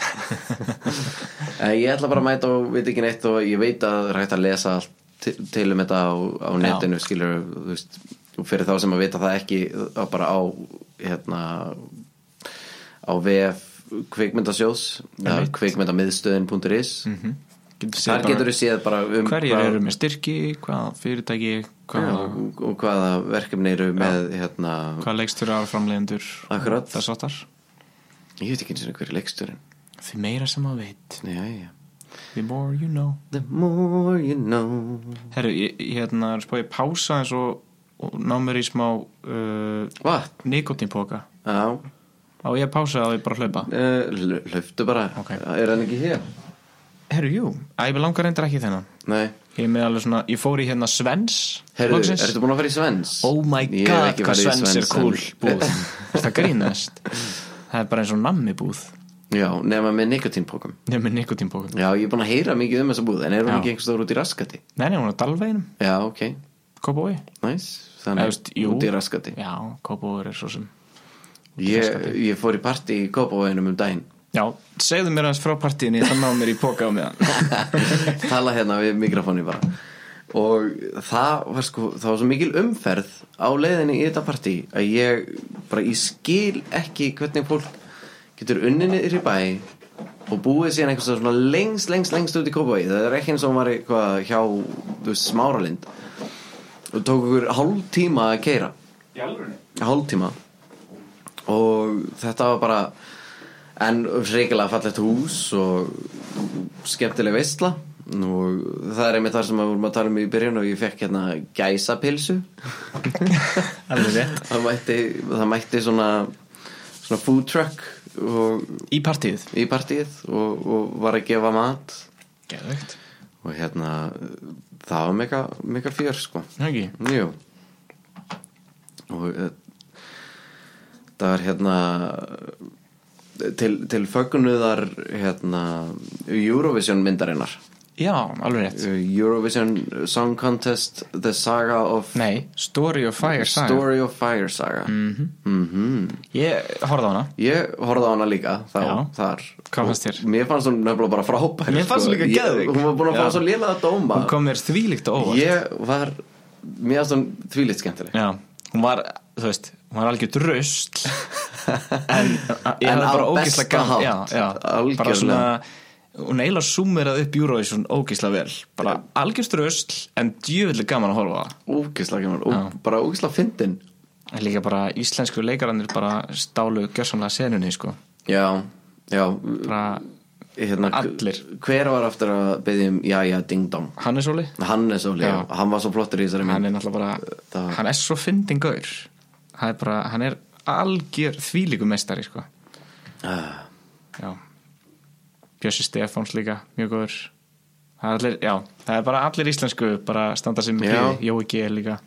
En Ég ætla bara að mæta og veit ekki neitt og ég veit að það er hægt að lesa allt til- til um þetta á, á netinu skilur þú veist, og fyrir þá sem að vita það ekki á bara á hérna á VF kvikmyndasjóðs eða kvikmyndamiðstöðin.is Getur Mhm. séð Þar bara- getur þú séð bara um hverjir hvað- eru með styrki, hvaða fyrirtæki Já, hvaða, og, og hvaða verkefni eru með hérna, hvaða leikstjórar framleiðendur Akkurat. þess áttar ég veit ekki eins og hverju leiksturinn því meira sem maður veit, Jæja the more you know The more you know herru, ég, ég hérna er að spá ég pása eins og, og ná mér í smá uh, Hvað? nikotinpoka Já, á ég að pása eða á ég bara að hlaupa eh, lau- lauftu bara Ok. Er hann ekki hér? herru, jú, að ég langar reyndar ekki í þennan Nei ég, er með alveg svona, ég fór í hérna Svens Herru, loksins. ertu búin að fara í Svens? Oh my Ég hef god, ekki hvað farið í Svens er en- Eh, cool búð það grínast það er bara eins og nammi búð Já, nema með nikotínpókum nefnir nikotínpokum Já, ég er búin að heyra mikið um þessa búð En er hún Já. ekki einhvers stór út í raskati? Nei, nei, hún er á dalveginum, Já, ok, Kópavogi nice Eða, Þannig, veist, jú. út í raskati Já, Kópavogur er svo sem ég, ég fór í partí í Kópavóinum um daginn Já, segðu mér aðeins frá partíinni Það ná mér í póka á meðan tala hérna við mikrofónu bara og það var sko það var svo mikil umferð á leiðinni í þetta partí að ég bara ég skil ekki hvernig fólk getur unninni yfir í bæ og búið síðan einhvers veginn svona lengst, lengst, lengst út í Kópavægi það er ekki eins og hún var eitthvað hjá þú veist, smáralind og tók okkur hálf tíma að keira hálf tíma og þetta var bara en reikilega fallegt hús og skemmtileg veistla og það er einmitt þar sem við vorum að tala um í byrjun og ég fekk hérna gæsapilsu Alveg rétt það mætti, það mætti svona, svona food truck og, Í partíið í partíið og, og var að gefa mat Geðvegt og hérna það var mega, mega fjör sko Hægi Jú og eh, það var hérna til, til fögnuðar hérna Eurovision myndarinnar Eh, Já, alveg rétt Eurovision Song Contest The Saga of Nei, Story of Fire saga Mhm. Story of Fire Saga -hmm. Ég horfði á hana Ég horfði á hana líka þá, Já. þar Hvað Og fannst þér? Mér fannst hún nefnilega bara frábær sko. Mér fannst hún líka Ég- geðveik. Hún var búin að fá Já. svo lélega dóma Hún kom mér þvílíkt á óvart Ég var, mér fannst hún þvílitt skemmtileg Já, hún var, þú veist hún var algjör drusl en, ég En á hafði bara besta ógislega gaman- hátt, já, já, bara algjörlega. svona hún eiginlega summerað upp Eurovision ógislega vel bara algjör drusl en djöfulli gaman að horfa á það. Ógislega gaman, ó, bara ógislega fyndin en líka bara íslensku leikarannir bara stálu gjörsamlega senunni sko Já, já bara hérna, allir. Hver var aftur að byggja um Jæja Ding Dong? Hannes Óli Hannes Óli, já. Já. hann var svo flottur í þessari mynd hann er Mm. náttúrulega Það- bara hann er svo fyndin gaur hann er bara hann er algjör þvílíku mestari sko Ah, já Bjössi Stefáns líka mjög góður það er allir já það er bara allir íslensku bara standa sem Já. mjög Jói G líka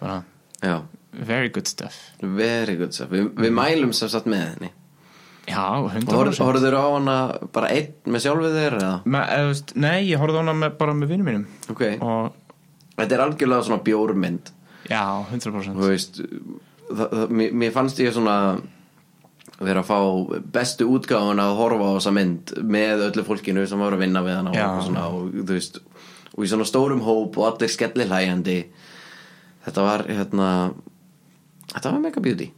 bara Já, very good stuff very good stuff. Vi, Við Mm. mælum sem sagt með henni já 100% Horður horfðurðu á hana bara einn með sjálfið þér eða? Ma, eða, þú veist, nei ég horfði á hana með, bara með vinnum mínum Ok, og þetta er algjörlega svona bjórmynd já 100% Þú veist, það, það, mér, mér fannst ég svona vera að fá bestu útgáfun að horfa á þessa mynd með öllu fólkinu sem var að vinna við hana og, Já. eitthvað svona, og, þú veist, og í svona stórum hóp og allir skelli hlæjandi þetta var hérna þetta var mega beauty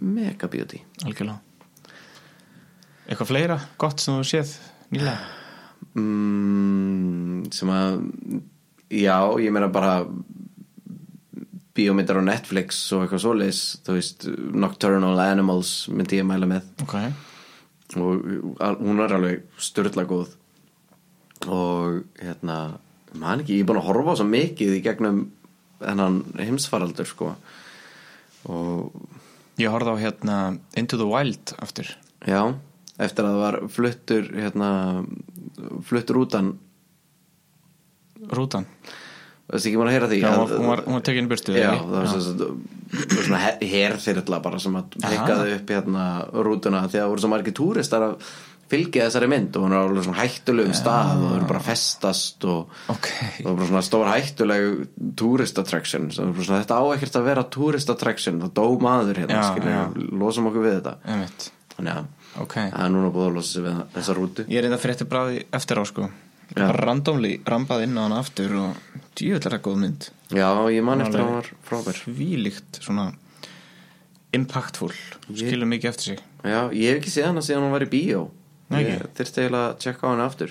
mega beauty algjörlega eitthvað fleira gott sem þú séð nýlega mm, sem að já, ég meina bara bíómyndar á Netflix og eitthvað svoleiðis þú veist, Nocturnal Animals myndi ég mæla með ok og al- hún er alveg störla góð og hérna man ekki, ég er búin að horfa á svo mikið í gegnum hennan heimsfaraldur sko og Ég horfði á hérna Into the Wild aftur já, eftir að það var fluttur hérna, fluttur útan Rútan Það er ekki búin að heyra því Já, að- hún var- hún var- hún var tekin í burtu, Já, eða ekki? það var Já. svo- svo- svo- svona her- herþyrla bara sem að pekkaði upp hérna rútuna því að það voru svo margir túristar að fylgja þessari mynd og hún er alveg svona hættulegum stað og það eru bara að festast og Ok. það er bara svona stór hættuleg tourist attraction sem er bara svona, þetta á ekkert að vera tourist attraction það dó maður hérna, Já, skilur, losum okkur við þetta Einmitt. þannig að Ok. það er núna búið að losa sig við þessa rútu Ég er enda fyrir þetta bráði eftir á sko Já. Bara randomli rambað inn á hana aftur og djúvill er það góð mynd Já, ég man eftir að Alveg. hún var frábær Svílíkt svona impactful Skilur mikið eftir sig Já, ég hef ekki séð hana síðan hún var í bíó Nei, Ég ekki. þyrfti eiginlega að tjekka á hana aftur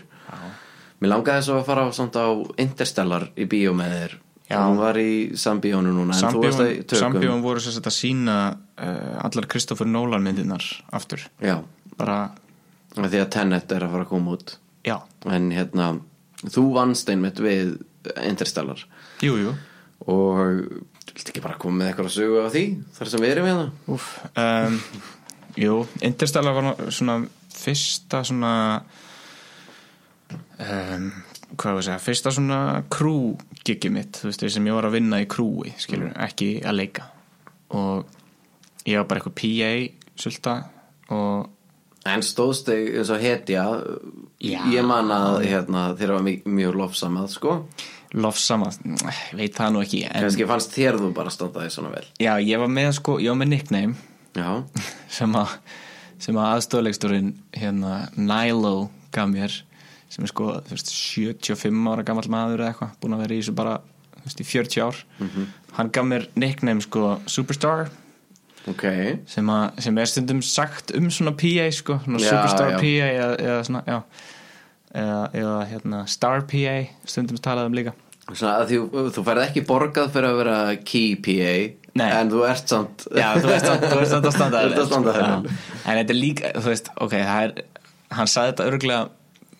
Mér langaði svo að fara á, samt á Interstellar í bíó með þér Já. Hún var í sambíónu núna en þú varst að í tökum. Sambjón voru sér að sína uh, allar Kristoffer Nolan myndirnar aftur Já, Bara, af því að Tenet er að fara að koma út já, En hérna, þú vannst einmitt við Interstellar jú, jú Og viltu ekki bara koma með eitthvað að sögu á því Þar sem við erum hérna Úf, um, jú, Interstellar var nú svona fyrsta svona um, hvað var að segja, fyrsta svona crew gigi mitt, þú veist, sem ég var að vinna í crewi, skilur, ekki að leika og ég var bara eitthvað PA, sulta og En stóðst þig eins og hetja Já. Ég man að hérna, þér var mjög, mjög lofsamað sko lofsama, veit það nú ekki en, Kannski fannst þér þú bara standa því svona vel já, ég var með sko, ég var með nickname Já, sem að sem að aðstofleiksturinn hérna Nilo gaf mér sem er sko þú veist, 75 ára gammal maður eða eitthvað búin að vera í þessu bara þú veist, í 40 ár Mhm. hann gaf mér nickname sko Superstar ok sem, að, sem er stundum sagt um svona PA sko, svona Já, Superstar já. PA eða, eða svona, já eða, eða hérna Star PA stundum talað um líka Svona að því, þú færð ekki borgað fyrir að vera key PA Nei. En þú ert samt Já, þú veist að, þú veist að það standa Þú ert að standa Já. þér vel. En þetta er líka, þú veist, ok, það er Hann sagði þetta örgulega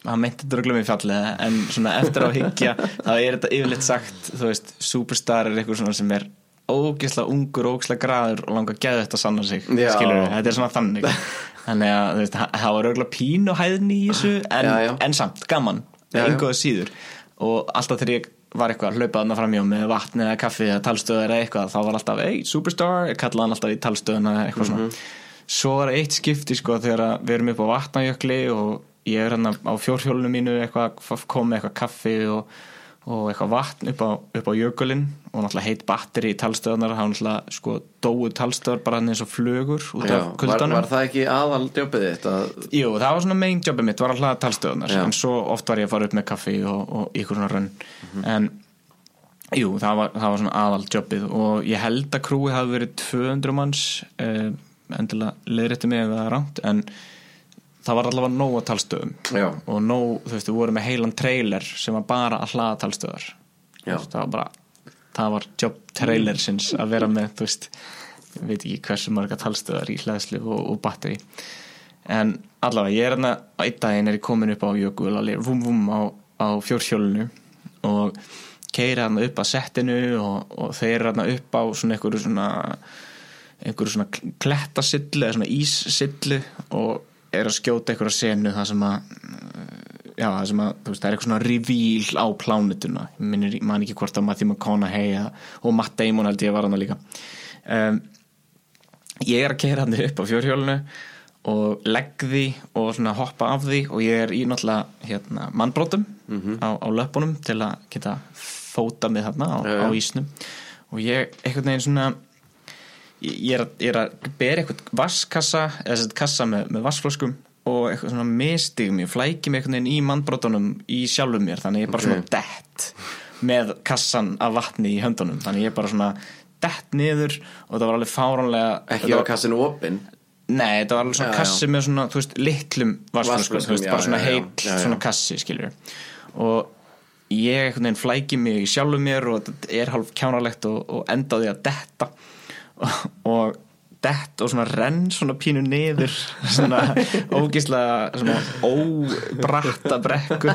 Hann meinti þetta örgulega með fjallið En svona eftir á higgja Þá er þetta yfirleitt sagt, þú veist Superstar er eitthvað svona sem er Ógislega ungur, ógislega graður Og langar geðu þetta að sanna sig Já. Skilur þetta er svona þannig Þannig að þú veist, það- það var örgulega pín og hæðni í þessu En, Já, já. en samt, gaman Já, já. Engoðu síður Og alltaf þegar ég var eitthvað að hlaupa þarna framjá með vatn eða kaffi eða talstöð eða eitthvað þá var alltaf, ei, superstar, kallaði hann alltaf í talstöðuna eða eitthvað Mhm. svona svo var eitt skipti sko þegar að við erum upp á vatnajökli og ég er hann á fjórhjólinu mínu eitthvað, f- kom með eitthvað kaffi og, og eitthvað vatn upp á, upp á jökulinn og náttúrulega heitt batteri í talstöðunar hann náttúrulega sko dóu talstöðar bara hann eins og flögur út Já, var, af kuldanum var það ekki aðal djópið þitt að, Jú, það var svona main jobið mitt, var að hlaða talstöðunar Já. en svo oft var ég að fara upp með kaffi og, og ykkur svona rönn en Jú, það var, það var svona aðaldjobbið og ég held að krúið hafi verið 200 manns eh, endilega leiðrætti mig ef það er rámt en það var allavega nóg að talstöðum Já. og nóg, þú veist, við vorum með heilan trailer sem var bara að hlaða talstöðar Já. Þú Mm. veist, það var bara, það var jobb trailer sinns að vera með, þú veist ég veit ekki hversu marga talstöðar í hlæðslu og, og batteri en allavega, ég er hérna á einn daginn er ég komin upp á jökul alveg vum vum á, á fjórhjólinu og keira hérna upp að settinu og, og þeir eru hérna upp á svona einhverju svona einhverju svona kl- klettasillu eða svona íssillu og eru að skjóta einhverja senu það sem að já, það sem að, þú veist, það er eitthvað svona reveal á plánutuna, ég minnir, man ekki hvort að Matthew McConaughey eða- og Matt Damon held ég var hann líka um, ég er að keira hann upp á fjórhjólinu og legg því og svona hoppa af því og ég er í náttúrulega hérna, mannbrotum Mhm. á, á löpunum til að geta fóta mig þarna á, Já, já. á ísnum og ég einhvern veginn svona ég ég er, að- ég er að bera eitthvað vaskassa eða sett kassa með, með vaskflöskum og eitthvað svona mistigum, ég flæki mig einhvern veginn í mannbrotunum í sjálfum mér þannig ég er bara Ok. svona dett með kassan af vatni í höndunum þannig ég er bara svona dett niður og það var alveg fáránlega ekki þetta var var- kassinu opinn Nei, þetta var alveg svona Já, já. kassi með svona, þú veist, litlum vatnsflöskum, þú Vatnsflöskum, veist, já, bara svona já, já, heill já, já. svona kassi, skilur og ég einhvern veginn flæki mig í sjálfu mér og þetta er hálf kjánalegt og, og enda á því að detta og, og dett og svona renn svona pínu niður svona ógislega svona óbratta brekku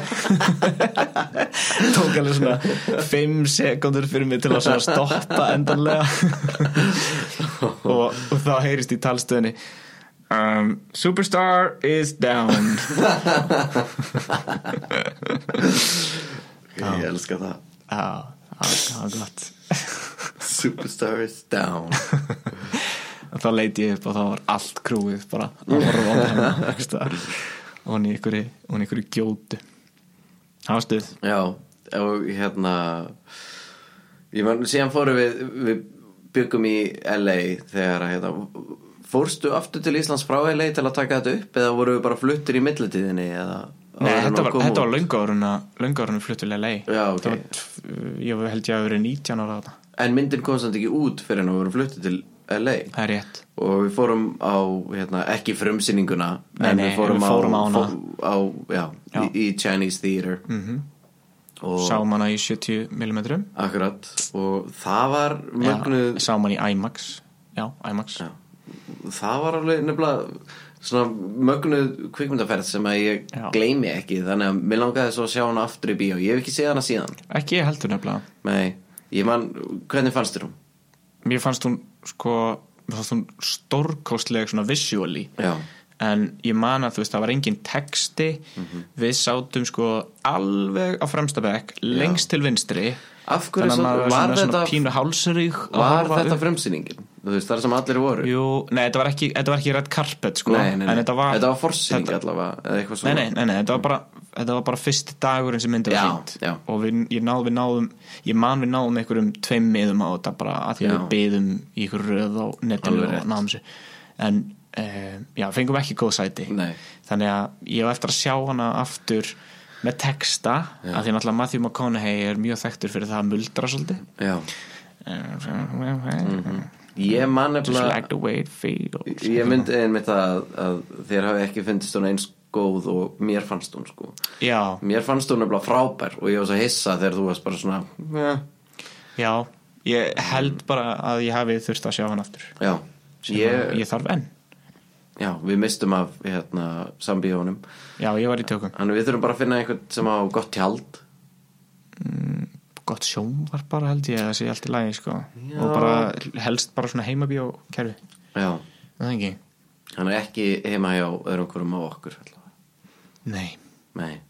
tók alveg svona 5 sekundur fyrir mig til að svona stoppa endanlega og, og þá heyrist í talstöðinni um, Superstar is down ég elska það Já, það var gott Superstar is down og þá leiti ég upp og þá var allt krúið bara að horfa á hana einhvers staðar. og hún í einhverju, hún í einhverju gjótu það var stuð Já, og hérna ég mann, síðan fórum við við byggum í LA þegar að hérna, fórstu aftur til Íslands frá LA til að taka þetta upp eða voru við bara fluttir í millitíðinni eða Nei, áður en þetta að var, koma þetta var út? löngáruna löngáruna fluttulega lei Já, ok. það var, tf- ég held ég að hafa verið 19 ára þarna. en myndin kom samt ekki út fyrir en við vorum fluttir til LA það er rétt og við fórum á hérna, ekki frumsýninguna Nei, en nei, við fórum, við fórum á á, hana. á já, Já. Í, Mhm. í Chinese Theater mm -hmm. og sáum hana í 70mm akkurat og það var mögnuð sáum hana í IMAX já, IMAX já. það var alveg nefnilega svona mögnuð kvikmyndaferð sem að ég Já. gleymi ekki þannig að mér langaði svo að sjá hana aftur í bíó ég hef ekki séð hana síðan ekki ég heldur nefnilega Nei, ég man, hvernig fannst þér hún? mér fannst hún sko mér fannst hún stórkostleg svona visually Já. en ég man að þú veist það var engin texti Mhm. við sátum sko alveg á fremsta bekk lengst til vinstri Af hverju þannig að sátum- maður var var svona, svona þetta- pínu hálsurík Var þetta frumsýningin? Þú veist, það er sem allir voru Jú, nei, þetta var ekki, þetta var ekki redd karpet sko, Nei, nei, nei, en þetta var, forsýning þetta- allavega eða eitthvað Nei, svona nei, nei, nei, þetta var bara þetta var bara fyrsti dagurinn sem myndið var Já, sýnt já. og við, ég, náð, við náðum ég man við náðum einhverjum tveim miðum á þetta bara að því Já. við byðum í ykkur röð á netinu Alveg rétt. og náðum sér en uh, já, fengum ekki góð sæti Nei. þannig að ég hef eftir að sjá hana aftur með texta já. að því náttúrulega Matthew McConaughey er mjög þekktur fyrir það að muldra svolítið Já. mm -hmm. Ég man just Mm-hmm. nefnilega like the way it feels Ég myndi einmitt að, að þér hafi ekki fundist hún eins góð og mér fannst hún sko já, Mér fannst hún nefnilega frábær og ég var svo hissa þegar þú varst bara svona "Eh, já, ég held bara að ég hafi þurft að sjá hann aftur Já, sem ég, að ég þarf enn já við mistum af hérna, sambíónum já, ég var í tökum, Þannig við þurfum bara að finna einhvern sem á gott tjald gott sjón var bara held ég að það sé allt í lagi sko. og bara helst bara svona heimabíó kerfi, Já, það er ekki hann er ekki heima hjá öðrum hverjum á okkur allavega. nei, Nei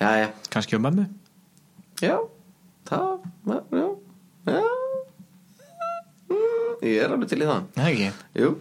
Já, já, kannski á mömmu já Það, já, já Mm, Ég er alveg til í það það er ekki, Jú,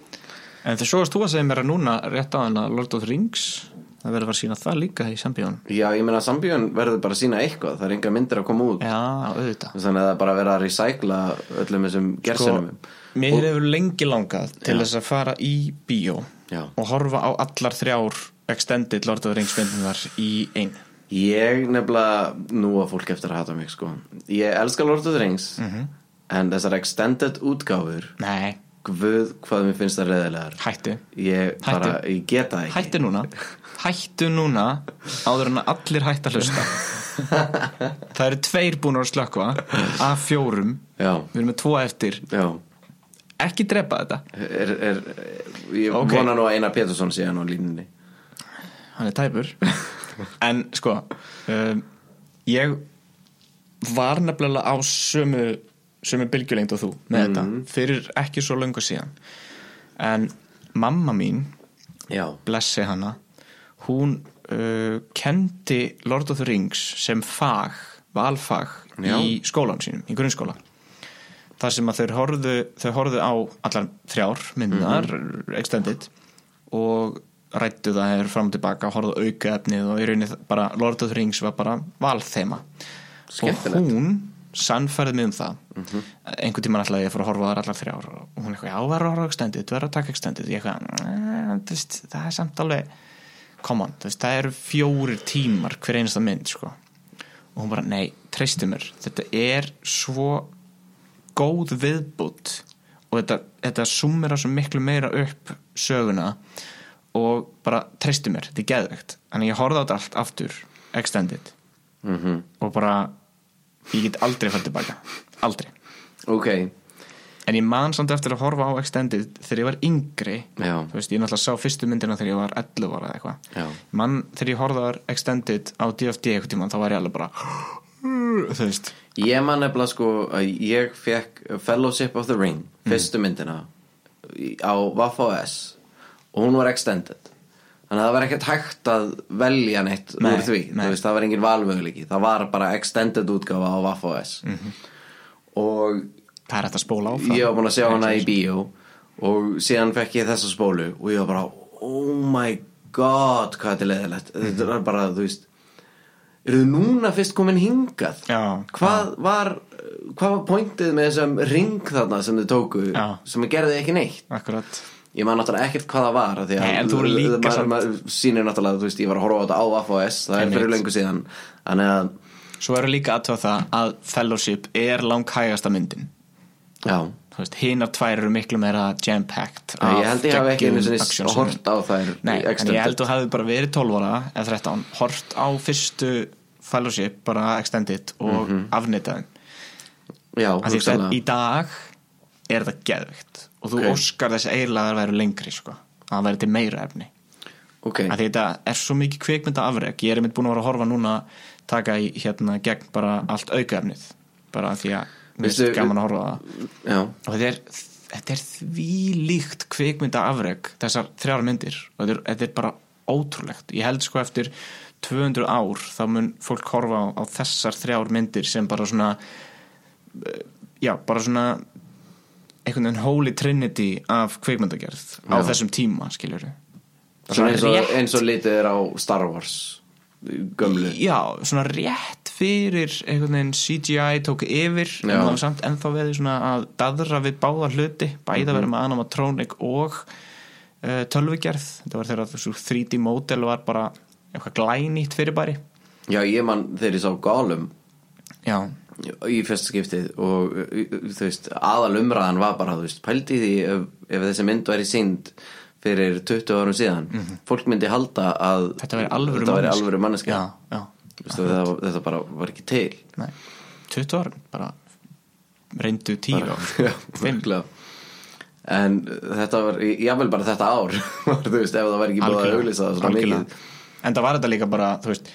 en það sjóast þú að segja mér að núna rétt á henn að Lord of the Rings það verður að fara að sína það líka í sambíónum já, ég meina sambíón verður bara að sína eitthvað Það er enga myndir að koma út já, auðvitað Þannig að það er bara að vera að recycla öllum þessum gersinum mér hefur lengi langað til þess að fara í bíó Já. og horfa á allar þrjár extended Lord of the Rings myndinnar í einu Ég nefnilega nú að fólk eftir að hata mig sko Ég elska Lord of the Rings Mhm. En þessar extended útgáfur Nei, Guð hvað mér finnst það reyðilegar hættu Ég bara, Hættu. ég geta það ekki Hættu núna Hættu núna áður en að allir hætt að hlusta Það eru tveir búin að slökva af fjórum Já, Við erum með tvo eftir já Ekki drepa þetta er, er, Ég Ok. vona nú að Einar Pétursson sé hann á línunni Hann er tæpur En sko um, Ég var nefnilega á sömu, sömu bylgjulengd og þú með þetta Fyrir ekki svo löngu síðan En mamma mín Já, blessi hana hún uh, kendi Lord of the Rings sem fag, valfag Já. í skólan sínum, í grunnskóla þar sem að þeir horfðu, þau horfðu á allar þrjár myndunar extended og rættu það hefur fram og tilbaka og horfðu auka efnið og í rauninni þa- bara Lord of the Rings var bara valþema Skemmtilegt. og hún sannfærið mig um það einhvern tímann alltaf ég að fór að horfa á þar allar þrjár og hún eitthvað, já, verður að horfa á extended, verður að taka extended ég eitthvað, "Nei, þú veist, það er samt alveg come on, þú veist, það eru fjórir tímar hver einasta mynd, sko og hún bara, nei, treystu mér þetta er svo góð viðbútt og þetta, þetta sumir að svo miklu meira upp söguna og bara treystu mér, þetta er geðvegt þannig ég horfði á þetta allt aftur extended mhm. -hmm. og bara ég get aldrei fælt tilbaka aldrei, ok en ég man samt eftir að horfa á extended þegar ég var yngri Já. þú veist, ég náttúrulega sá fyrstu myndina þegar ég var 11 ára eða Já. eitthvað mann, þegar ég horfði á extended á DFD eitthvað tíma, þá var ég alveg bara þú veist, Ég man nefnilega sko að ég fekk Fellowship of the Ring, Mm. fyrstu myndina í- á Vaff OS og hún var extended þannig að það var ekkert hægt að velja neitt Nei, úr því, nei. þú veist, það var engin valmöguleiki það var bara extended útgáfa á Vaff OS Mhm. og það er hægt að spóla á ég var búin að sjá hana í bíó og síðan fekk ég þessa spólu og ég var bara, oh my god hvað þetta er leðilegt Mhm. þetta er bara, þú veist eru þið núna fyrst komin hingað Já, hvað var hvað var pointið með þessum ring þarna sem þið tóku Já. sem gerði ekki neitt akkurat ég man náttúrulega ekkert hvað það var af því að Nei, en þú voru líka maður- samt- maður sýnir náttúrulega, þú veist, ég var að horfa á þetta á AFOS það er Einmitt. fyrir lengu síðan þannig að, Svo eru líka aðtöða það að Fellowship er langhægasta myndin já Þú veist, hinar tvær eru miklu meira jam-packed Nei, ég held ég hafi ekki geggjum einu sinni action s- horft á þær í Nei, en extended. ég held þú hafi bara verið 12 ára eða 13, hort á fyrstu Fellowship, bara extended og Mhm. mm -hmm. afnitaðin já, Í dag er þetta geðvikt og þú Ok. óskar þess eiginlega að það væri lengri sko, að það væri til meira efni ok, að þetta er svo mikið kveikmynda afreg ég er einmitt búin að vera að horfa núna taka í hérna gegn bara allt aukaefnið bara því að mér Veistu- er gaman að horfa á það já og þetta er, þetta er því líkt kveikmynda afreg þessar þrjár myndir og þetta er, þetta er bara ótrúlegt ég held sko eftir 200 ár þá mun fólk horfa á, á þessar þrjár myndir sem bara svona eh, já, bara svona einhvern veginn holy trinity af kveikmyndagerð á Já. þessum tíma skiljur Svona eins og, eins og litið er á Star Wars gömlu Já, svona rétt fyrir einhvern veginn CGI tók yfir en Já. það var samt ennþá verið svona að daðra við báða hluti, bæða Mhm. verið með animatronic og uh, tölvugerð, þetta var þegar þessu 3D model var bara eitthvað glænýtt fyrirbæri já, ég man þegar ég sá Gollum Já, í fyrsta skiptið og þú veist, aðal umræðan var bara þú veist, pældi því ef, ef þessi mynd væri sínd fyrir 20 árum síðan fólk myndi halda að Mhm. þetta verið alvöru þetta væri manneskja. alvöru manneskja. Já, já, Þú veist, þetta, þetta bara var ekki til nei 20 ára, bara reyndu 10 ára Já, Fimm. örugglega. en þetta var jável bara þetta ár var, þú veist, ef það var ekki búið að auglýsa það svona algjörlega. mikið en það var þetta líka bara þú veist,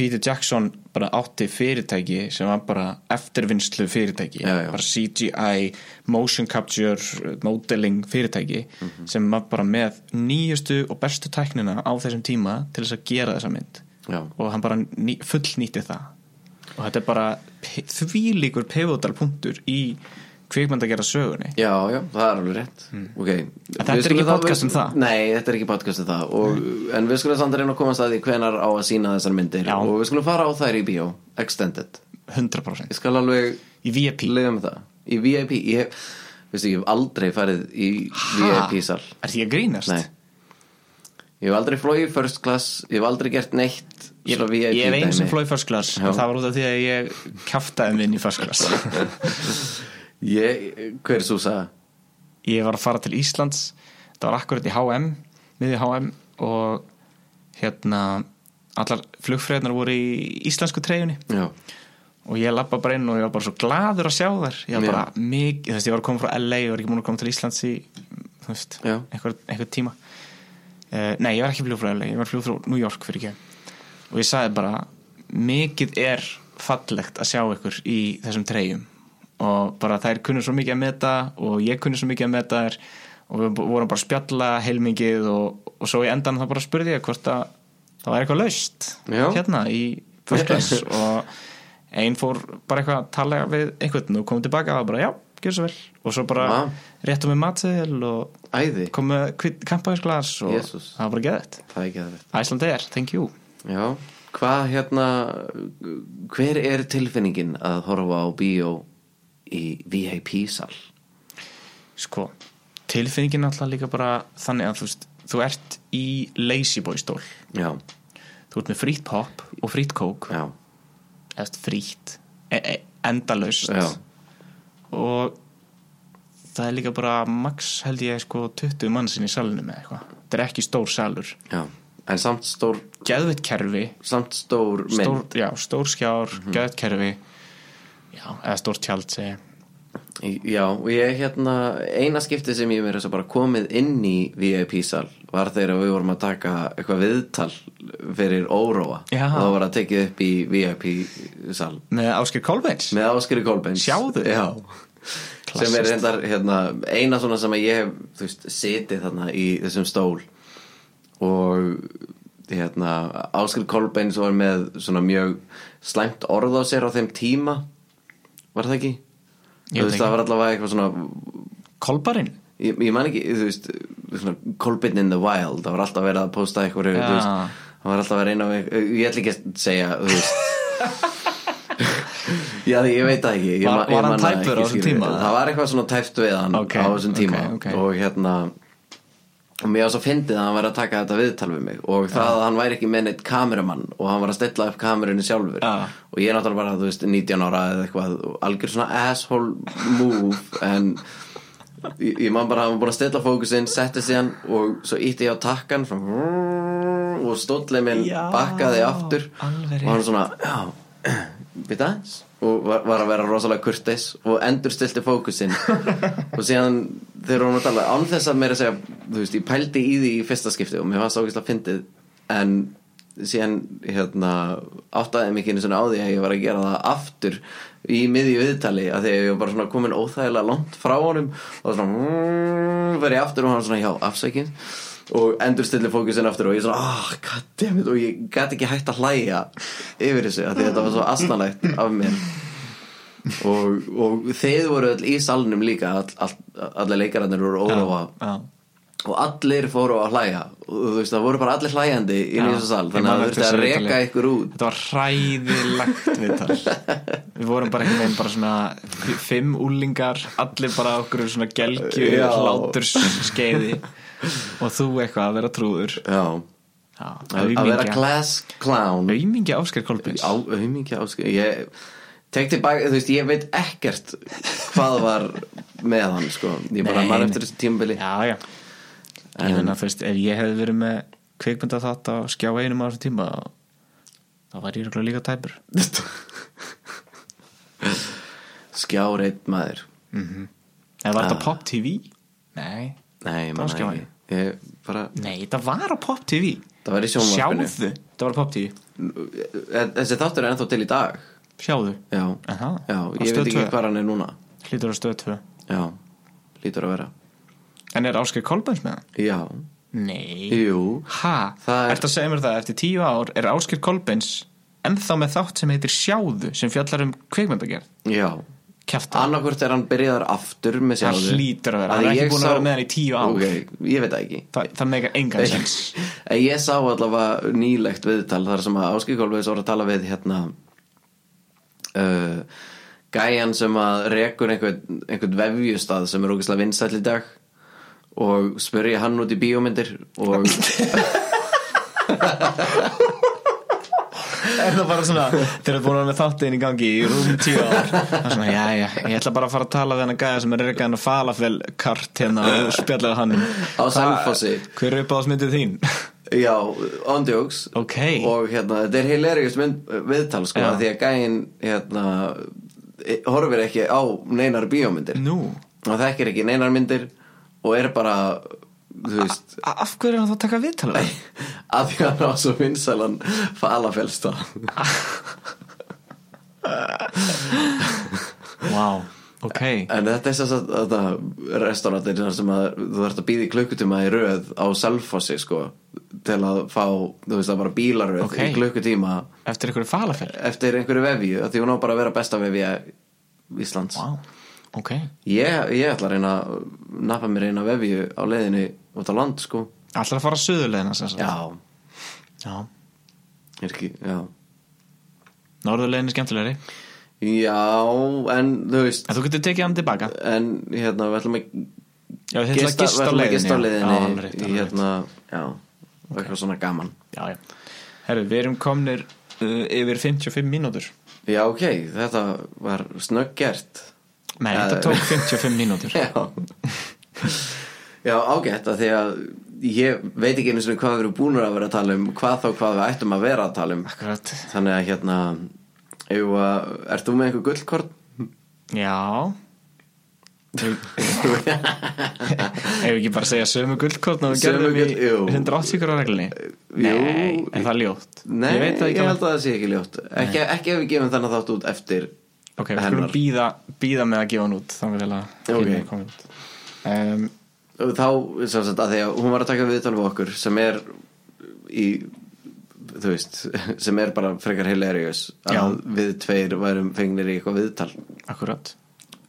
Peter Jackson bara átti fyrirtæki sem var bara eftirvinnslu fyrirtæki Já, já. bara CGI, motion capture modeling fyrirtæki Mhm. sem var bara með nýjustu og bestu tæknina á þessum tíma til þess að gera þessa mynd Já. og hann bara ný, fullnýtti það og þetta er bara pi- þvílíkur pivotal punktur í kvikmynd að gera sögunni Já, já, það er alveg rétt Ok Hmm. En þetta Við er skulum ekki þá- podcast um það? Hmm. Nei, þetta er ekki podcast um það og, En við skulum samt að reyna að komast að því hvenar á að sína þessar myndir Já. Og við skulum fara á þær í bíó Extended 100% Ég skal alveg í VIP lega um það Í VIP Ég hef, veistu, ég hef aldrei farið í Ha? VIP-sal Er því að grínast? Nei Ég hef aldrei flóið first class, ég hef aldrei gert neitt Ég, svona VIP ég er einn sem dæmi. flói first class Já. og það var út af því að ég kjaftaði minn í first class Ég, hver svo sagði? ég var að fara til Íslands það var akkurat í HM miðið HM og hérna allar flugfræðnar voru í íslensku treyjunni Já, og ég lappa bara inn og ég var bara svo gladur að sjá þær ég var Já. bara mikið, þú veist, ég var að koma frá LA og var ekki múin að koma til Íslands í þú veist, Já. einhver, einhver tíma uh, nei, ég var ekki flug frá LA, ég var flug frá New York fyrir ekki og ég sagði bara mikið er fallegt að sjá ykkur í þessum treyjum og bara þær kunnu svo mikið að meta og ég kunnu svo mikið að meta þær og við vorum bara að spjalla heilmikið og, og svo í endan þá bara spurði ég hvort að það var eitthvað laust Já. hérna í first class og einn fór bara eitthvað að tala við einhvern og kom tilbaka og bara já, gjör svo vel og svo bara Vá. réttum við matseðil og æði, kom með kvitt- kampavínsglas og Jesús. það var bara geðið það er ekki það veit Æslandeir, thank you Já, hvað hérna hver er tilfinningin að horfa á bíó í VIP-sal? sko, tilfinningin alltaf líka bara þannig að þú veist þú ert í lazy boy stól Já, þú ert með frýtt pop og frýtt kók já, eða frýtt e e endalaust já og það er líka bara max held ég sko 20 mannsinn í salinu með eitthvað þetta er ekki stór salur Já, en samt stór geðvitt kerfi samt stór mynd stór, já, stór skjár, mm geðvitt kerfi já, eða stór tjald segi. ég. Já, og ég hérna eina skipti sem ég mér þess að bara komið inn í VIP-sal var þegar við vorum að taka eitthvað viðtal fyrir óróa Já. og það var að tekið upp í VIP-sal með Ásker Kolbeins með Áskeri Kolbens Sjáðu. Já Klassist. sem er reyndar hérna, eina svona sem að ég hef þú veist, setið þarna í þessum stól og hérna, Áskil Kolbeins var með svona mjög slæmt orð á sér á þeim tíma var það ekki? Ég Þú veit veist, ekki. það var allavega eitthvað svona Kolbarinn? ég, ég man ekki, þú veist svona, Kolbeinn in the wild, það var alltaf verið að posta eitthvað, Já. þú veist það var alltaf að reyna við, ég ætla ekki að segja þú veist Já, því ég veit það ekki ég, Var- man- ég var hann man það tæpur ekki á þessum skýrt. tíma? Það var eitthvað svona tæpt við hann Ok, á þessum tíma ok, ok. og hérna og mér var svo fyndið að hann væri að taka þetta viðtal við mig og það að hann væri ekki með neitt kameramann og hann var að stilla upp kamerunni sjálfur Já. og ég er náttúrulega bara, þú veist, 19 ára eða eitthvað og algjör svona asshole move en ég, ég man bara að hann var búin að stilla fókusinn setti síðan og svo ítti ég á takkan svona, og stóllið minn Já, bakkaði aftur alveg og hann svona, já, við aðeins og var, var að vera rosalega kurteis og endur stilti fókusinn og síðan þegar hún var að tala án þess að mér að segja, þú veist, ég pældi í því í fyrsta skipti og mér var sákislega fyndið en síðan hérna áttaði mig ekki einu svona á því að ég var að gera það aftur í miðju viðtali að því að ég var bara svona komin óþægilega langt frá honum og svona verið aftur og hann svona já, afsækinn og endur stilli fókusinn aftur og ég svona, ah, oh, goddammit og ég gæti ekki hægt að hlæja yfir þessu af því að þetta var svo asnalegt af mér og, og þeir voru all í salnum líka all, all, allir leikararnir voru órófa Já, og allir fóru að hlæja og þú veist, það voru bara allir hlæjandi í já. þessu sal, Ég þannig man að það eftir þurfti að þessu reka viðtali. ykkur út Þetta var hræðilegt viðtal Við vorum bara einhvern veginn bara svona fimm úlingar, allir bara okkur svona gelgju, Já. hláturs skeiði og þú eitthvað að vera trúður já, Já, að, að vera aumingja class clown Aumingja Ásker Kolbeins á auðmingja áskil ég tek tilbaka, þú veist, ég veit ekkert hvað var með hann sko, ég bara Nei, man nei. eftir þessu tímabili Já, já Ég meina, þú veist, ef ég hefði verið með kvikmynda þátt á skjá einum á þessum tíma þá- þá var ég örugglega líka tæpur skjár eitt maður Eða Ah. var þetta Pop TV? Nei nei, ég Það var man það skjárinn. ekki ég bara, Nei, þetta var á Pop TV það var í sjónvarpinu Sjáðu, þetta var á Pop TV e, þessi þáttur er ennþá til í dag Sjáðu já, Aha, já á ég Stöð veit ekki tvö. hvað hann er núna Hlýtur á stöð 2 já, lítur að vera En er Ásker Kolbens með hann? já, Nei jú Ha, Það er- ertu að segja mér það Eftir tíu ár er Ásker Kolbens ennþá með þátt sem heitir Sjáðu sem fjallar um kvikmyndagerð já, Kjafta annarkvort er hann byrjaðar aftur með Hann sjálfur hlýtur að Af vera, hann því er ekki ég búin að sá- vera með hann í tíu ár. ok, ég veit það ekki Þa, Það meika engan sens En ég sá allavega nýlegt viðtal þar sem að Áskei Kolbeins voru að tala við hérna uh, gæjan sem að rekur einhvern, einhvern vefjustað sem er ógeðslega vinsæll í dag og spurja hann út í bíómyndir og er það bara svona þeir eru búin að vera með þáttinn í gangi í rúm tíu ár það er svona, já, já, ég ætla bara að fara að tala við hann að gæða sem er reykað hann að falafel kart hérna og spjallaði hann Á Selfossi. hver er upp á smyndið þín? Já, ondjóks Ok. Og hérna, þetta er hilarious mynd, viðtal sko Já. af Því að gæinn, hérna e- Horfir ekki á neinar bíómyndir Nú, Og þekkir ekki neinar myndir Og er bara, þú veist a- af hverju er hann þá að taka viðtala? Að því að hann á svo vinsalan Falafelsta Vá, ok En þetta er þess að þetta restaurantir sem að þú ert að býða í klukkutíma í röð á Selfossi sko til að fá, þú veist, að bara bílaröð Ok. í klukkutíma Eftir einhverju falafel? eftir einhverju vefju af því hún á bara að vera besta vefja Íslands Vá, ok ég, ég ætla að reyna að nappa mér eina vefju á leiðinni út á land sko Allar að fara söðurleðina sem sagt já, Já. er ekki, já Norðurleiðin er skemmtilegri já, en þú veist En þú getur tekið hann tilbaka en hérna, við ætlum að Já, þið ætlum að gista á við ætlum að leiðinni, gista á já. leiðinni Já, alveg rétt, alveg rétt. hérna, já, og eitthvað svona gaman Já, já Herru, við erum komnir uh, yfir 55 mínútur já, ok, þetta var snögg gert Nei, Eh, þetta tók 55 mínútur Já Já, ágætt að því að ég veit ekki einu svona hvað við erum búin að vera að tala um hvað þá hvað við ættum að vera að tala um Akkurat Þannig að hérna ef að, ert þú með einhver gullkort? Já Ef ekki bara segja sömu guldkort og við Sömu gerðum í gull- jú. 180 gráða reglunni Jú. Nei, en það er ljótt Nei, Ég veit það ekki held að það sé ekki ljótt ekki, ekki ef við gefum þannig þátt út eftir Ok, við skulum býða, býða með að gefa hann út þannig til að Ok. hinn er komin út um, Og Þá, sem sagt, að því að hún var að taka viðtal við okkur sem er í þú veist, sem er bara frekar hilarious að Já. við tveir værum fengnir í eitthvað viðtal Akkurat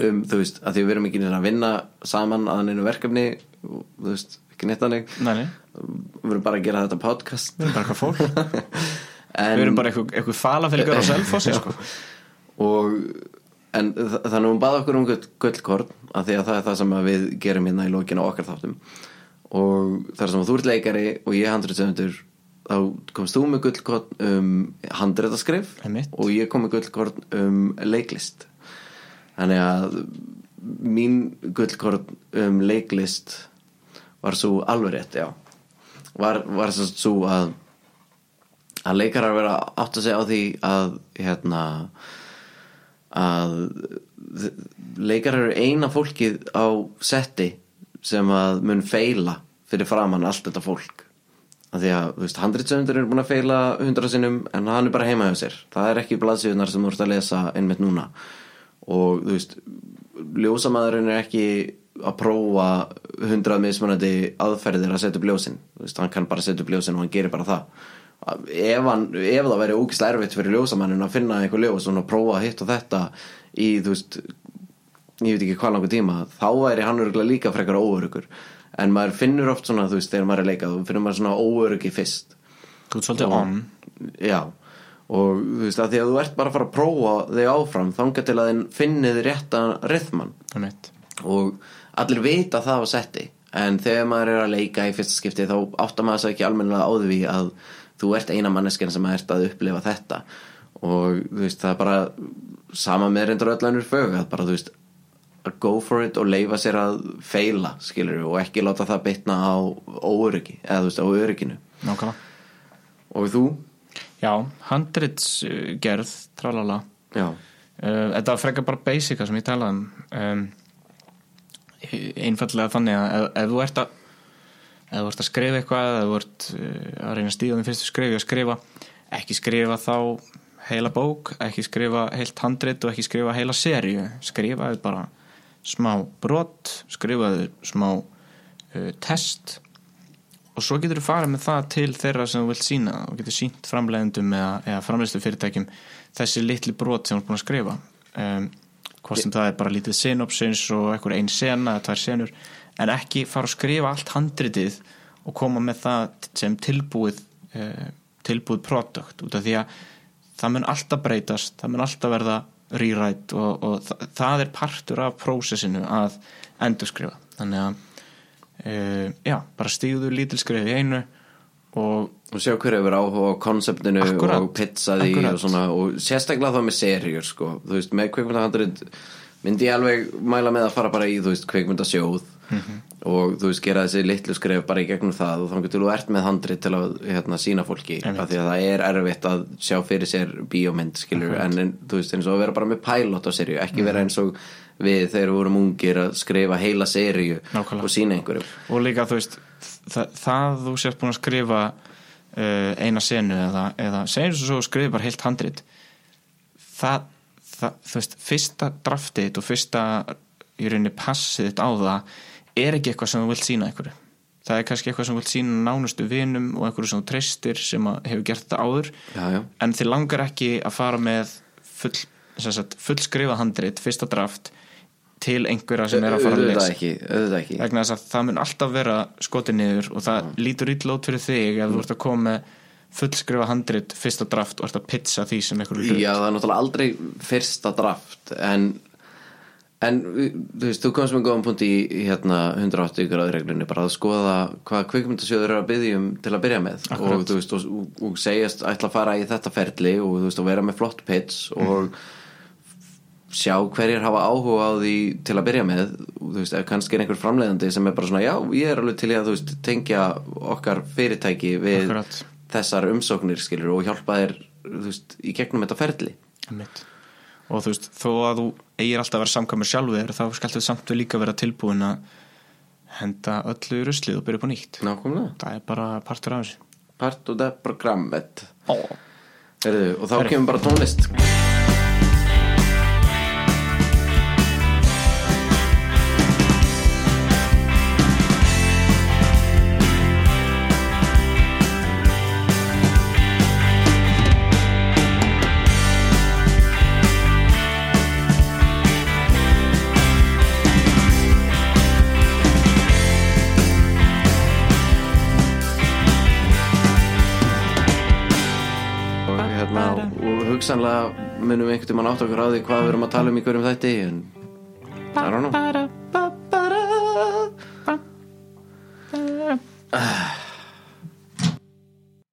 um, þú veist, að því við erum ekki neina að vinna saman að neinu verkefni og, þú veist, ekki neitt þannig Nei, nei, við erum bara að gera þetta podcast við erum bara eitthvað fólk en, Eh, Við erum bara eitthvað, eitthvað falafelgar á selfossi sko. og en þa- þannig að hún baði okkur um gull, gullkorn að því að það er það sem að við gerum hérna í lokinu á okkar þáttum og þar sem að þú ert leikari og ég handriðsöndur þá komst þú með gullkorn um handriðaskrif Einmitt. og ég kom með gullkorn um leiklist þannig að mín gullkorn um leiklist var svo alveg rétt, já var, var svo, svo að að leikarar vera átt að segja á því að hérna að leikarar eru eina fólkið á setti sem að mun feila fyrir framann allt þetta fólk að því að, þú veist, handritsöndur eru búin að feila hundra sinnum en hann er bara heima hjá sér það er ekki blaðsíðunar sem þú ert að lesa einmitt núna og, þú veist ljósamaðurinn er ekki að prófa hundrað mismunandi aðferðir að setja upp ljósin þú veist, hann kann bara setja upp ljósin og hann gerir bara það ef, hann, ef það væri ógislega erfitt fyrir ljósamannin að finna einhver ljós og prófa hitt og þetta í, þú veist, ég veit ekki hvað langur tíma þá væri hann örgulega líka frekar óörugur en maður finnur oft svona, þú veist, þegar maður er leikað þá finnur maður svona óörugi fyrst Þú ert svolítið om já, og þú veist, að því að þú ert bara að fara að prófa þig áfram þanga til að þinn finnið rétta rithman Einmitt. og allir vita það á setti en þegar maður er að leika í fyrsta skipti þá áttar maður sig ekki almennilega á því að þú ert eina manneskinn sem ert að upplifa þetta og þú veist það er bara sama með reyndur öllunur fög að bara þú veist að go for it og leifa sér að feila skilur og ekki láta það bitna á óöryggi eða þú veist á örygginu Nákvæmlega og þú? Já, handritsgerð, tralala Já, Uh, Þetta var frekar bara basica sem ég talaði um, um einfallega þannig að ef, ef þú ert að ef þú ert að skrifa eitthvað eða þú ert uh, að reyna að stíða þinn fyrstu skrifi að skrifa ekki skrifa þá heila bók ekki skrifa heilt handrit og ekki skrifa heila seríu skrifaðu bara smá brot skrifaðu smá uh, test og svo getur þú farið með það til þeirra sem þú vilt sína og getur sínt framleiðendum eða, eða framleiðslu fyrirtækjum þessi litli brot sem þú er búin að skrifa um, hvort sem það er bara lítið synopsins og einhver ein sena eða tvær senur en ekki fara að skrifa allt handritið og koma með það sem tilbúið uh, tilbúið produkt út af því að það mun alltaf breytast, það mun alltaf verða rýrætt og, og það, það er partur af prósessinu að Eh, endurskrifa þannig að uh, já, bara stíðu lítil skrif í einu og og sjá hver hefur áhuga á konseptinu Akkúrat, og pizzaði akkúrat. og svona og sérstaklega þá með serjur sko þú veist, með kvikmyndahandrið myndi ég alveg mæla með að fara bara í þú veist, kvikmyndasjóð Mhm. og þú veist, gera þessi litlu skref bara í gegnum það og þá getur þú ert með handrið til að hérna, sína fólki af því að það er erfitt að sjá fyrir sér bíómynd skilur, en en þú veist, eins og að vera bara með pilot á serju, ekki Mhm. vera eins og við þegar við vorum ungir að skrifa heila serju Nákvæmlega. og sína einhverjum og líka þú veist það, það þú sért búin að skrifa uh, eina senu eða, eða segjum svo og skrifa bara heilt handrit það, það þú veist, fyrsta draftið þitt og fyrsta í rauninni passið þitt á það er ekki eitthvað sem þú vilt sína einhverju það er kannski eitthvað sem þú vilt sína nánustu vinum og einhverju sem þú treystir sem að hefur gert þetta áður Já, já. en þið langar ekki að fara með full, sem sagt, fullskrifa handrit fyrsta draft til einhverja sem er að fara að auðvitað lesa ekki, auðvitað ekki vegna þess að það mun alltaf vera skotið niður og það Mm. lítur illa út fyrir þig ef þú ert að koma með fullskrifa handrit fyrsta draft og ert að pitcha því sem einhverju hlut Já, það er náttúrulega aldrei fyrsta draft en, en þú veist, þú komst með góðan punkt í hérna 180 gráður reglunni bara að skoða hvað kvikmyndasjóður eru að byggja um til að byrja með og, þú veist, og, og, og segjast ætla að fara í þetta ferli og þú veist, og vera með flott pitch og sjá hverjir hafa áhuga á því til að byrja með þú veist, ef kannski er einhver framleiðandi sem er bara svona, já, ég er alveg til í að þú veist, tengja okkar fyrirtæki við Akkurat. þessar umsóknir skilur og hjálpa þér þú veist, í gegnum þetta ferli Einmitt. og þú veist, þó að þú eigir alltaf að vera samkvæmur sjálfur þér, þá skaltu samt við líka vera tilbúin að henda öllu í ruslið og byrja upp á nýtt Nákvæmlega það er bara partur af þessu Part og það programmet oh. Heyrðu, og þá kemur bara tónlist og hérna og hugsanlega munum við einhvern tímann átt okkur á því hvað við erum að tala um í hverjum þætti en I don't know Bara